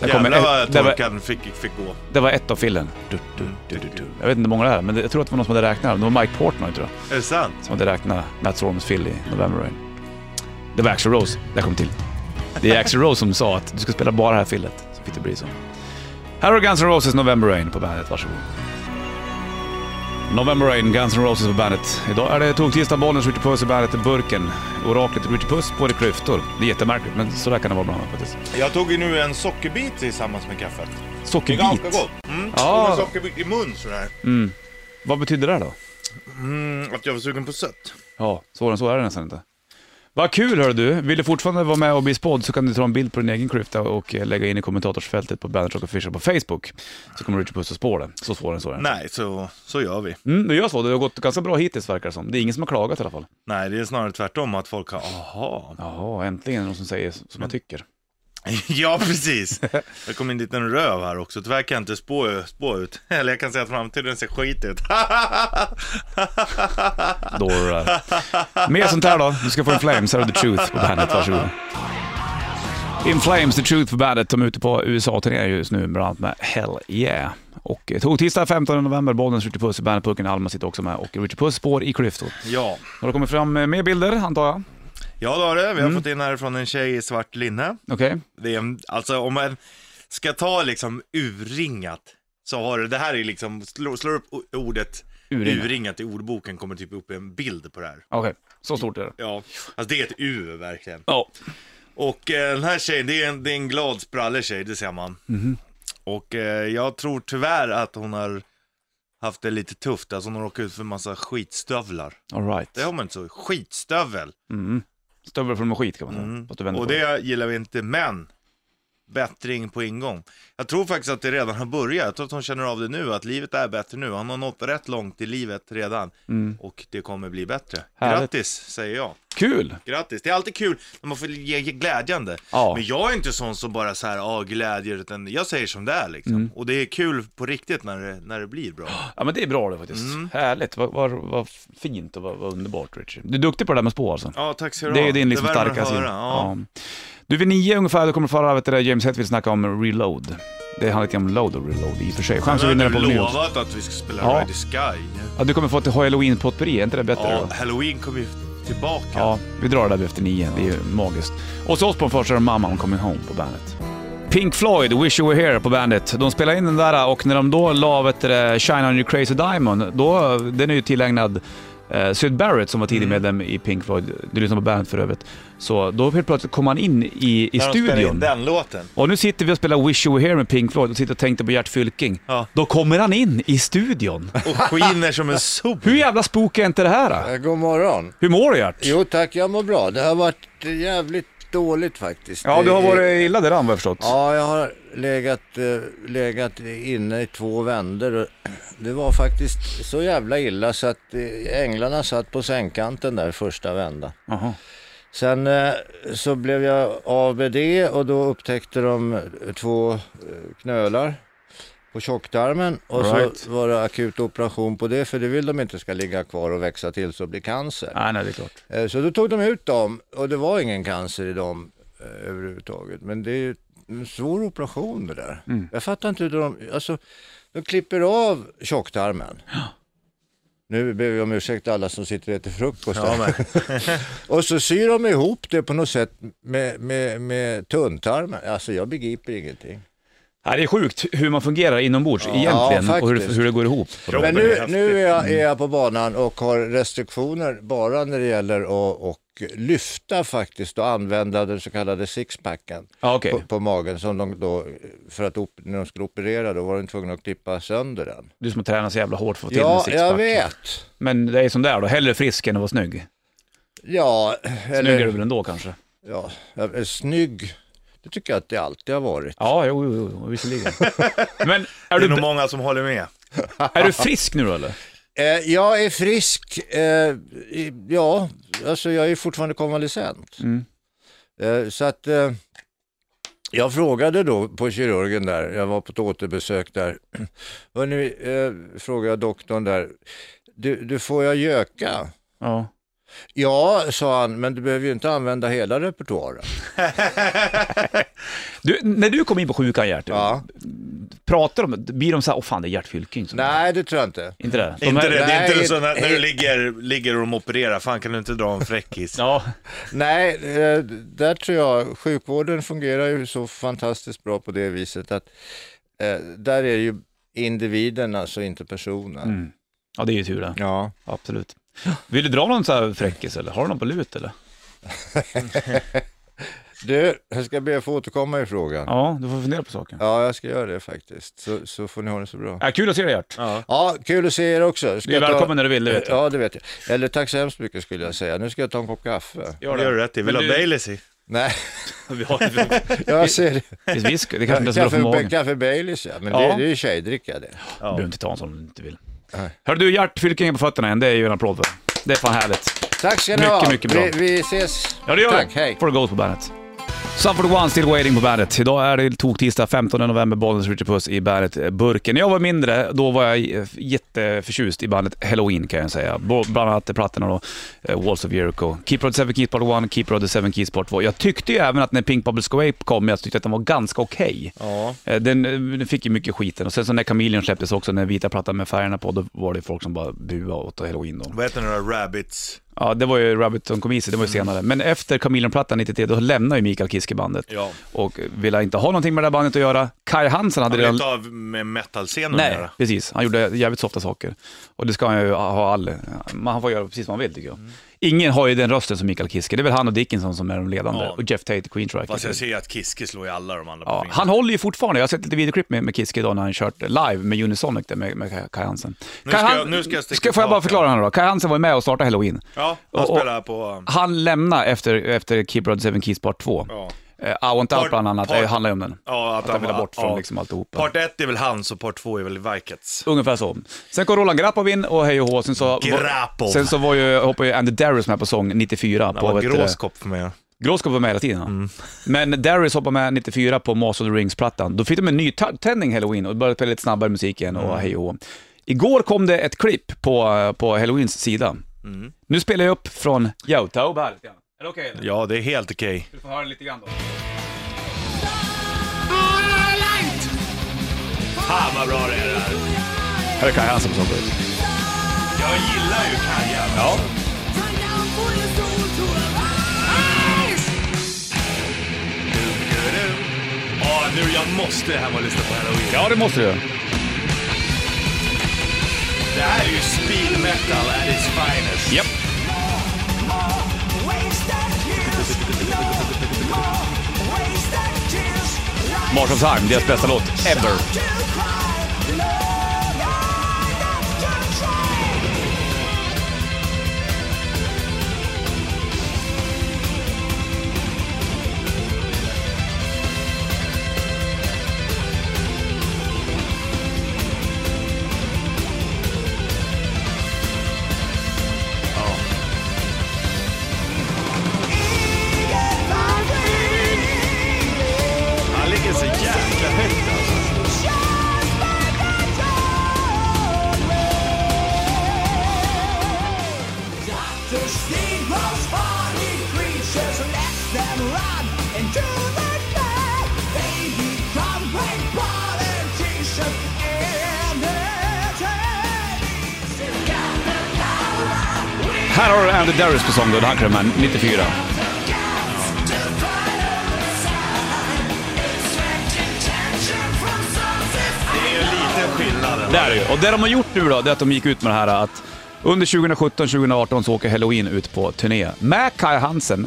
Speaker 1: Det, kommer
Speaker 2: Jävlar vad
Speaker 1: ett, det, var,
Speaker 2: torkan fick, fick gå.
Speaker 1: det var ett av fillen. Du, du, du, du, du. Jag vet inte hur många det är, men det, jag tror att det var någon som hade räknat. Det var Mike Portnoy tror jag,
Speaker 2: Är det sant?
Speaker 1: som hade räknat Matt Storms fill i November Rain. Det var Axl Rose, där kom till. Det är Axl Rose som sa att du ska spela bara det här fillet, så fick det bli så. Här har Guns N' Roses November Rain på bandet, varsågod. November Rain, Guns N' Roses på bandet. Idag är det toktisdag, Bollnäs, Ritchie Puss i bandet, Burken, Oraklet, Ritchie Puss på det klyftor. Det är jättemärkligt, men sådär kan det vara bland annat faktiskt.
Speaker 2: Jag tog ju nu en sockerbit tillsammans med kaffet. Det är ganska
Speaker 1: Sockerbit.
Speaker 2: gott. Mm.
Speaker 1: Ja.
Speaker 2: Och en sockerbit i mun sådär.
Speaker 1: Vad betyder det då?
Speaker 2: Mm, att jag var sugen på sött.
Speaker 1: Ja, svårare än så är det nästan inte. Vad kul hör du! Vill du fortfarande vara med och bli spådd så kan du ta en bild på din egen klyfta och eh, lägga in i kommentatorsfältet på Bandet Rock Official på Facebook. Så kommer Richard Puss att spå det. Så svårare än så är det.
Speaker 2: Nej, så, så gör vi.
Speaker 1: Mm, det gör så. Det har gått ganska bra hittills verkar det som. Det är ingen som har klagat i alla fall.
Speaker 2: Nej, det är snarare tvärtom att folk har, aha.
Speaker 1: Jaha, äntligen någon som säger som jag tycker.
Speaker 2: ja, precis. Det kom in en liten röv här också. Tyvärr kan jag inte spå, spå ut. Eller jag kan säga att framtiden ser skit ut.
Speaker 1: Då är det där. Mer sånt här då. Du ska få In Flames, här har The Truth på bandet. Varsågod. In Flames, The Truth på bandet. De är ute på USA-turné just nu, bland annat med Hell Yeah. Och eh, tog tisdag 15 november, Bollnäs, Ritchie Puss, bandet Pucken, Alma sitter också med och Ritchie Puss spår i klyftor.
Speaker 2: ja.
Speaker 1: Har det kommit fram eh, mer bilder, antar jag?
Speaker 2: ja, då har det. Vi har fått in här från en tjej i svart linne.
Speaker 1: Okej.
Speaker 2: Det är en, alltså om man ska ta liksom urringat så har det, det här är liksom, slår, slår upp o- ordet
Speaker 1: Urringat.
Speaker 2: urringat. i ordboken kommer typ upp en bild på det här.
Speaker 1: Okej, så stort är det.
Speaker 2: Ja, alltså det är ett U verkligen.
Speaker 1: Ja.
Speaker 2: Och eh, den här tjejen, det är en, det är en glad sprallig tjej, det ser man.
Speaker 1: Mhm.
Speaker 2: Och eh, jag tror tyvärr att hon har haft det lite tufft, alltså hon har råkat ut för en massa skitstövlar.
Speaker 1: Alright.
Speaker 2: Det har man inte så, skitstövel.
Speaker 1: Stövel från skit kan man säga. Fast du vänder
Speaker 2: Och
Speaker 1: på det.
Speaker 2: det gillar vi inte, men bättring på ingång. Jag tror faktiskt att det redan har börjat. Jag tror att hon känner av det nu, att livet är bättre nu. Han har nått rätt långt i livet redan och det kommer bli bättre.
Speaker 1: Mm. Härligt.
Speaker 2: Grattis, säger jag.
Speaker 1: Kul!
Speaker 2: Grattis. Det är alltid kul när man får ge ge glädjande.
Speaker 1: Ja.
Speaker 2: Men jag är inte sån som bara så här, ah, glädjer, utan jag säger som det är liksom.
Speaker 1: Mm.
Speaker 2: Och det är kul på riktigt när det, när det blir bra.
Speaker 1: Ja men det är bra det faktiskt. Härligt, vad, vad, vad fint och vad, vad underbart Richie. Du är duktig på det där med spå alltså.
Speaker 2: Ja, tack ska du
Speaker 1: Det är
Speaker 2: ha.
Speaker 1: ju din liksom
Speaker 2: värmer att
Speaker 1: starka sida.
Speaker 2: höra, Ja.
Speaker 1: Ja. Du, vid nio ungefär, då kommer förra vet du, det, James Hetfield snacka om reload. Det handlar lite om load och reload i och för sig. Chans att
Speaker 2: Men
Speaker 1: vinna
Speaker 2: jag
Speaker 1: den på
Speaker 2: har ju
Speaker 1: nyårs.
Speaker 2: lovat att vi ska spela
Speaker 1: Ja.
Speaker 2: Ride the Sky.
Speaker 1: Ja, du kommer få ett halloween-potpurri, är inte det bättre
Speaker 2: Ja,
Speaker 1: då?
Speaker 2: Halloween kommer ju tillbaka.
Speaker 1: Ja, vi drar det där efter nio, det är ju magiskt. Och så oss på den första, Mamma I'm coming home på bandet. Pink Floyd, Wish You Were Here på bandet. De spelade in den där och när de då la vet du, det, Shine On Your Crazy Diamond, då, den är ju tillägnad eh, Syd Barrett som var tidig medlem i Pink Floyd, du lyssnar på bandet för övrigt. Så då helt plötsligt kom han in i, i
Speaker 2: När de spelar in
Speaker 1: studion.
Speaker 2: den låten.
Speaker 1: Och nu sitter vi och spelar Wish You Were Here med Pink Floyd och sitter och tänkte på Gert Fylking.
Speaker 2: Ja.
Speaker 1: Då kommer han in i studion.
Speaker 2: Och skiner som en sol.
Speaker 1: Hur jävla spooky är inte det här? Då?
Speaker 5: Eh, God morgon.
Speaker 1: Hur mår du Gert?
Speaker 5: Jo tack, jag mår bra. Det har varit jävligt dåligt faktiskt.
Speaker 1: Ja, du har
Speaker 5: Det är-
Speaker 1: varit illa däran vad jag förstått.
Speaker 5: Ja, jag har legat, eh, legat inne i två vändor. och Det var faktiskt så jävla illa så att eh, änglarna satt på sängkanten där första vändan.
Speaker 1: Jaha.
Speaker 5: Sen eh, så blev jag av med det och då upptäckte de eh, två eh, knölar på tjocktarmen och
Speaker 1: Right.
Speaker 5: så var det akut operation på det för det vill de inte ska ligga kvar och växa till så blir cancer.
Speaker 1: Nej, nej, det är klart.
Speaker 5: Eh, Så då tog de ut dem och det var ingen cancer i dem eh, överhuvudtaget. Men det är ju en svår operation det där. Jag fattar inte hur de, alltså de klipper av tjocktarmen. Nu ber vi om ursäkt till alla som sitter och äter frukost. här. och så syr de ihop det på något sätt med, med, med tunntarmen. Alltså jag begriper ingenting.
Speaker 1: Nej, det är sjukt hur man fungerar inombords
Speaker 5: Ja,
Speaker 1: egentligen
Speaker 5: faktiskt.
Speaker 1: och hur, hur det går ihop.
Speaker 5: Men
Speaker 2: Det
Speaker 5: nu,
Speaker 2: är
Speaker 5: nu är, jag, är jag på banan och har restriktioner bara när det gäller att och lyfta faktiskt och använda den så kallade sixpacken.
Speaker 1: Ja, okej.
Speaker 5: på, på magen som de då, för att op- när de skulle operera då var de tvungna att klippa sönder den.
Speaker 1: Du som har tränat så jävla hårt för att få till en
Speaker 5: Ja,
Speaker 1: sixpack.
Speaker 5: jag vet.
Speaker 1: Men det är som det är då, hellre frisk än att vara snygg.
Speaker 5: Ja,
Speaker 1: Snygg är du
Speaker 5: eller
Speaker 1: väl ändå kanske?
Speaker 5: ja, eh, snygg. Det tycker jag att det alltid har varit.
Speaker 1: Ja, jo, jo, jo visserligen. Men är
Speaker 2: Det är nog
Speaker 1: du,
Speaker 2: många som håller med.
Speaker 1: är du frisk nu då eller?
Speaker 5: Eh, jag är frisk. Eh, i- ja, alltså jag är fortfarande konvalescent.
Speaker 1: Mm.
Speaker 5: Eh, så att eh, jag frågade då på kirurgen där, jag var på ett återbesök där. Och nu eh, frågade jag doktorn där, du, du får jag göka?
Speaker 1: Ja.
Speaker 5: Ja, sa han, men du behöver ju inte använda hela repertoaren.
Speaker 1: Du, när du kom in på sjukan Gert,
Speaker 5: Ja.
Speaker 1: pratar de, blir de så här, åh fan det är Gert Fylking som
Speaker 5: Nej, det tror jag inte.
Speaker 1: Inte det? De
Speaker 2: inte
Speaker 1: här-
Speaker 2: det, det är inte
Speaker 5: nej,
Speaker 2: så när, när du
Speaker 5: nej.
Speaker 2: ligger, ligger och de opererar, fan kan du inte dra en fräckis?
Speaker 1: Ja,
Speaker 5: Nej, eh, där tror jag sjukvården fungerar ju så fantastiskt bra på det viset att eh, där är det ju individen, alltså inte personen.
Speaker 1: Mm. ja, det är ju tur det.
Speaker 5: Ja.
Speaker 1: Absolut. Vill du dra någon så här fräckis eller? Har du någon på lut eller?
Speaker 5: Du, jag ska be att få återkomma i frågan. Ja,
Speaker 1: Ja, du får fundera på saken.
Speaker 5: jag ska göra det faktiskt, så, så får ni ha det så bra.
Speaker 1: Ja, kul att se dig Gert.
Speaker 5: Ja, kul att se er också. Ska
Speaker 1: Du är
Speaker 5: jag ta-
Speaker 1: välkommen när du vill, det vet jag.
Speaker 5: Ja, det vet jag. Eller tack så hemskt mycket skulle jag säga. Nu ska jag ta en kopp kaffe.
Speaker 2: Det gör du rätt i.
Speaker 1: Men
Speaker 2: Vill du ha
Speaker 1: du-
Speaker 2: Baileys i?
Speaker 5: Nej,
Speaker 1: Vi har det.
Speaker 5: jag ser det.
Speaker 1: Visst, visst, det kanske inte är så bra för
Speaker 5: Kaffe,
Speaker 1: magen.
Speaker 5: kaffe Baileys ja, men
Speaker 1: Ja.
Speaker 5: Det, det är ju tjejdricka det.
Speaker 1: Du behöver inte ta en sån om du inte vill. Hör du, Gert Fylking på fötterna igen, det är ju en applåd för. Det är fan härligt.
Speaker 5: Tack ska ni
Speaker 1: Mycket,
Speaker 5: ha.
Speaker 1: mycket bra.
Speaker 5: Vi, vi ses.
Speaker 1: Ja, det gör
Speaker 5: Tack,
Speaker 1: du.
Speaker 5: hej.
Speaker 1: For Ghost på bandet. Suffered One Still Waiting på bandet. Idag är det toktisdag 15 november, Bollnäs Richard Puss i bandet-burken. När jag var mindre, då var jag eh, jätteförtjust i bandet Halloween kan jag säga. Bo- Bland annat plattorna då, eh, Walls of Jericho, Keeper of the Seven Keys Part 1, Keeper of the Seven Keys Part 2. Jag tyckte ju även att när Pink Bubbles Go Ape kom, jag tyckte att den var ganska okej.
Speaker 2: Ja.
Speaker 1: Eh, Den, eh, den fick ju mycket skiten och sen så när Chameleon släpptes också, när vita plattan med färgerna på, då var det folk som bara buade åt halloween då.
Speaker 2: Vad heter den där Rabbits?
Speaker 1: Ja, det var ju Rabbit som kom i sig, det var ju senare. Men efter Chameleon-plattan 93, då lämnade ju Mikael Kiske bandet
Speaker 2: Ja.
Speaker 1: och ville inte ha någonting med det där bandet att göra. Kai Hansen hade
Speaker 2: Vill du
Speaker 1: redan...
Speaker 2: inte ha med metalscenen att
Speaker 1: Nej,
Speaker 2: göra?
Speaker 1: precis. Han gjorde jävligt softa saker. Och det ska han ju ha all... Man han får göra precis vad han vill tycker
Speaker 2: Mm.
Speaker 1: jag. Ingen har ju den rösten som Mikael Kiske. Det är väl han och Dickinson som är de ledande.
Speaker 2: Ja.
Speaker 1: Och Jeff Tate, Queen Striker.
Speaker 2: Fast jag ser ju att Kiske slår ju alla de andra på
Speaker 1: Ja,
Speaker 2: fingrarna.
Speaker 1: han håller ju fortfarande. Jag har sett lite videoklipp med, med Kiske idag när han kört live med Unisonic där med, med Kai Hansen.
Speaker 2: Nu ska
Speaker 1: Kai
Speaker 2: jag- nu ska jag sticka
Speaker 1: Får jag bara
Speaker 2: tillbaka.
Speaker 1: förklara honom då? Kai Hansen var ju med och startade Halloween.
Speaker 2: Ja, han
Speaker 1: Och- och-
Speaker 2: spelar på... um,
Speaker 1: Han lämnade efter, efter Keeper of the Seven Keys Part 2.
Speaker 2: Ja.
Speaker 1: Eh, I Want Out
Speaker 2: Part-
Speaker 1: bland annat,
Speaker 2: part-
Speaker 1: det handlar ju om den.
Speaker 2: Ja, att,
Speaker 1: Att han vill ha
Speaker 2: var-
Speaker 1: bort från liksom alltihopa.
Speaker 2: Part 1 är väl hans och part 2 är väl Vikets.
Speaker 1: Ungefär så. Sen kom Roland Grapov in och hej och hå. Sen så,
Speaker 2: Grapov.
Speaker 1: sen så var ju, hoppade ju Andy Darius med på sång 94.
Speaker 2: Det
Speaker 1: på, eh,
Speaker 2: var Mm.
Speaker 1: vet du det?
Speaker 2: gråskopp för mig.
Speaker 1: Gråskop var med hela tiden. ja. Men Darius hoppade med 94 på Master of the Rings-plattan. Då fick de en ny ta- tändning halloween och började spela lite snabbare musik igen
Speaker 2: Mm.
Speaker 1: och hej och hå. Igår kom det ett klipp på, eh, på halloweens sida.
Speaker 2: Mm.
Speaker 1: Nu spelar jag upp från Youtube här lite grann. Är det okej? eller?
Speaker 2: Ja, det är helt okej.
Speaker 1: Du får höra lite grann då.
Speaker 2: Fan vad bra det är det här.
Speaker 1: Här är Kaj Hansen på sång.
Speaker 2: Jag gillar ju Kaja. Ja. Åh, nu jag måste hem och lyssna på Halloween.
Speaker 1: Ja, det måste du.
Speaker 2: Det här är ju speed metal at its finest.
Speaker 1: Japp. Mars of Time, deras bästa låt ever.
Speaker 2: Han ligger så jäkla högt alltså.
Speaker 1: Här har du Andy Darius på sång då, han kommer med 94.
Speaker 2: Det är ju en liten skillnad.
Speaker 1: Det är det ju. Och det de har gjort nu då, det är att de gick ut med det här att under 2017-2018 så åker Halloween ut på turné med Kai Hansen.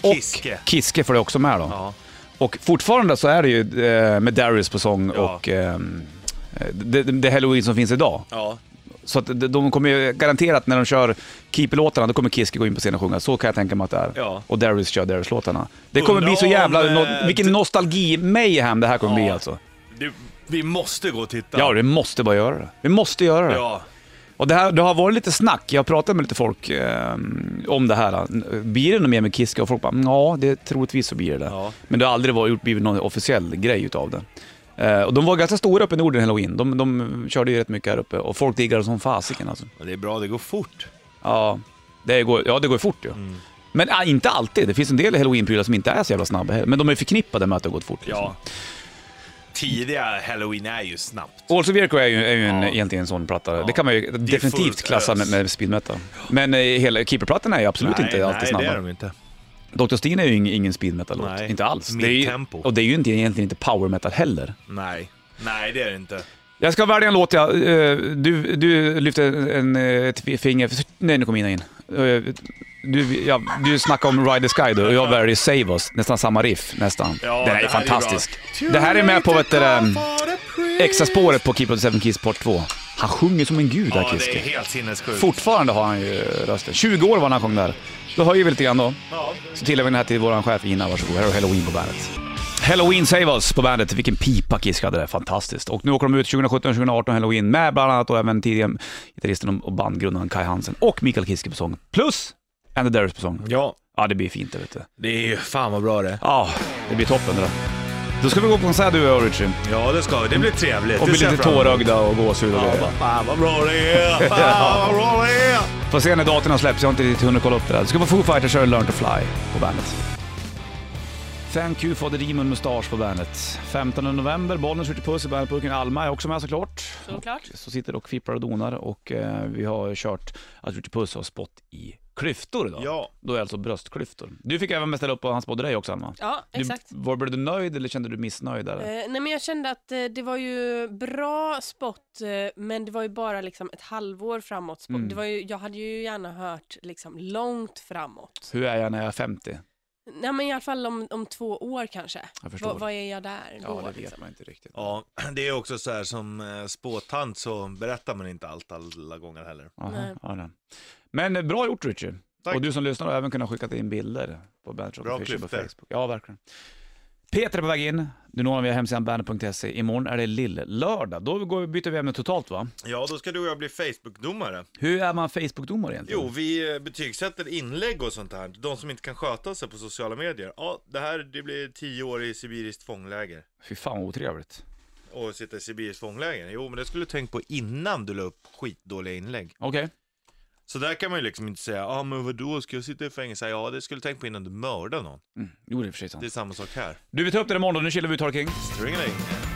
Speaker 1: Och
Speaker 2: Kiske.
Speaker 1: Kiske för det också med då.
Speaker 2: Ja.
Speaker 1: Och fortfarande så är det ju eh, med Darius på sång
Speaker 2: Ja.
Speaker 1: och ehm, det, det det Halloween som finns idag.
Speaker 2: Ja.
Speaker 1: Så att de- de kommer ju garanterat när de kör Keep-låtarna, då kommer Kiske gå in på scenen och sjunga. Så kan jag tänka mig att det är.
Speaker 2: Ja.
Speaker 1: Och Darius kör Darius-låtarna. Det kommer
Speaker 2: Undra
Speaker 1: bli så jävla...
Speaker 2: om,
Speaker 1: no-
Speaker 2: eh,
Speaker 1: vilken
Speaker 2: d-
Speaker 1: nostalgi-mayhem det här kommer bli
Speaker 2: Ja.
Speaker 1: alltså.
Speaker 2: Du, vi måste gå och titta.
Speaker 1: Ja, vi måste bara göra det. Vi måste göra det.
Speaker 2: Ja.
Speaker 1: Och det, här, det har varit lite snack, jag har pratat med lite folk eh, om det här. Blir det något mer med Kiska? Och folk bara, ja det troligtvis så blir det det.
Speaker 2: Ja.
Speaker 1: Men det har aldrig varit, blivit någon officiell grej utav det. Eh, och de var ganska stora uppe i Norden halloween. De, de körde ju rätt mycket här uppe och folk diggade som fasiken alltså.
Speaker 2: Men Det är bra, det går fort.
Speaker 1: Ja, det går, ja, det går fort ju.
Speaker 2: Mm.
Speaker 1: Men ah, inte alltid. Det finns en del halloween-prylar som inte är så jävla snabba heller. Men de är förknippade med att det har gått fort. Liksom.
Speaker 2: Ja. Tidiga halloween är ju snabbt.
Speaker 1: All Sevierco är ju, är ju en,
Speaker 2: Ja.
Speaker 1: egentligen en sån platta. Det kan man ju definitivt
Speaker 2: fullt
Speaker 1: klassa
Speaker 2: ös.
Speaker 1: med, med speed metal. Men eh, hela Keeper-plattan är ju absolut inte alltid
Speaker 2: nej,
Speaker 1: snabba.
Speaker 2: det är de inte.
Speaker 1: Dr. Steen är ju ing- ingen speed metal-låt.
Speaker 2: Nej.
Speaker 1: Inte alls. Det är ju,
Speaker 2: Midtempo.
Speaker 1: och det är ju inte, egentligen inte power metal heller.
Speaker 2: Nej. Nej, det är det inte.
Speaker 1: Jag ska välja en låt, ja. Eh, Du, du lyfte en, eh, ett finger... Nej, nu kom Ina in. Eh, Du, ja, du snackade om Ride the Sky då, och jag väljer Save Us. Nästan samma riff, nästan.
Speaker 2: Ja,
Speaker 1: Den
Speaker 2: det
Speaker 1: är
Speaker 2: här
Speaker 1: ju
Speaker 2: är
Speaker 1: fantastisk. det här är med på vet du, ehm, extra spåret på Keep of the Seven Keys Part 2. Han sjunger som en gud
Speaker 2: Ja,
Speaker 1: här
Speaker 2: det är
Speaker 1: Kiske.
Speaker 2: helt sinnessjukt.
Speaker 1: Fortfarande har han ju rösten. 20 år var han när han sjöng där. Då höjer vi lite grann då.
Speaker 2: Ja.
Speaker 1: Så tillägger vi den här till vår chef Ina, varsågod. Här har Halloween på bandet. Halloween Save Us på bandet. Vilken pipa Kiss hade där, fantastiskt. Och nu åker de ut 2017-2018 Halloween med bland annat och även tidigare gitarristen och bandgrundaren Kai Hansen och Mikael Kiske på sång. Plus Andy Darius på sång.
Speaker 2: ja,
Speaker 1: Ja, det blir fint det vet du.
Speaker 2: det är ju fan vad bra det
Speaker 1: Ja, det blir toppen det där. Då ska vi gå på konsert du och jag Richie.
Speaker 2: Ja, det ska vi. Det blir trevligt.
Speaker 1: Och
Speaker 2: Det
Speaker 1: bli
Speaker 2: ser jag
Speaker 1: lite
Speaker 2: fram emot.
Speaker 1: tårögda och gåshud och
Speaker 2: Ja,
Speaker 1: grejer.
Speaker 2: bara, Fan vad bra det är! Fan vad bra det är!
Speaker 1: Får se när datorn släpps, jag har inte riktigt hunnit kolla upp det där. Du ska få Foo Fighters köra Learn to Fly på bandet. Thank you for the demon mustasch på bandet. 15 november, Bollnäs skjuter puss i bandetburken. Alma är också med såklart.
Speaker 4: Såklart.
Speaker 1: Så sitter och fipplar och donar och eh, vi har kört att skjuter puss har spott i klyftor idag.
Speaker 2: Ja.
Speaker 1: Då är det alltså bröstklyftor. Du fick även ställa upp och han spådde dig också Alma.
Speaker 4: Ja, exakt.
Speaker 1: Du, var, blev du nöjd eller kände du missnöjd? Eller?
Speaker 4: Eh, nej men jag kände att eh, det var ju bra spot eh, men det var ju bara liksom ett halvår framåt. spot.
Speaker 1: Mm.
Speaker 4: Det var ju, jag hade ju gärna hört liksom långt framåt.
Speaker 1: Hur är jag när jag är 50?
Speaker 4: Nej men i alla fall om, om två år kanske.
Speaker 1: Jag förstår.
Speaker 4: Vad vad är jag där då?
Speaker 1: ja, det vet
Speaker 4: liksom?
Speaker 1: man inte riktigt.
Speaker 2: Ja, det är också så här som eh, spåtant så berättar man inte allt alla gånger heller.
Speaker 1: Jaha,
Speaker 4: Nej.
Speaker 1: ja, nej. Men eh, bra gjort Richard.
Speaker 2: Tack.
Speaker 1: Och du som lyssnar har även kunnat skicka in bilder på Bandit Rock
Speaker 2: Bra
Speaker 1: Official på
Speaker 2: klyftor.
Speaker 1: Facebook. Ja, verkligen. Peter är på väg in. Du når honom via hemsidan bandit.se. Imorgon är det lill-lördag. Då går, byter vi ämne totalt va?
Speaker 2: Ja, då ska du och jag bli Facebook-domare.
Speaker 1: Hur är man Facebook-domare egentligen?
Speaker 2: Jo, vi eh, betygsätter inlägg och sånt här. De som inte kan sköta sig på sociala medier. Ja, det här det blir tio år i sibiriskt fångläger.
Speaker 1: Fy fan vad otrevligt.
Speaker 2: Och sitta i sibiriskt fångläger. Jo, men det skulle du tänkt på innan du la upp skitdåliga inlägg.
Speaker 1: Okej.
Speaker 2: Så där kan man ju liksom inte säga, ja ah, men vadå, ska jag sitta i fängelse? Ja, det skulle du tänkt på innan du mördar någon.
Speaker 1: Jo, det är för sig sant.
Speaker 2: Det är samma sak här.
Speaker 1: Du, vi tar upp det imorgon då. Nu chillar vi ut, Harry King.
Speaker 2: Stringeling.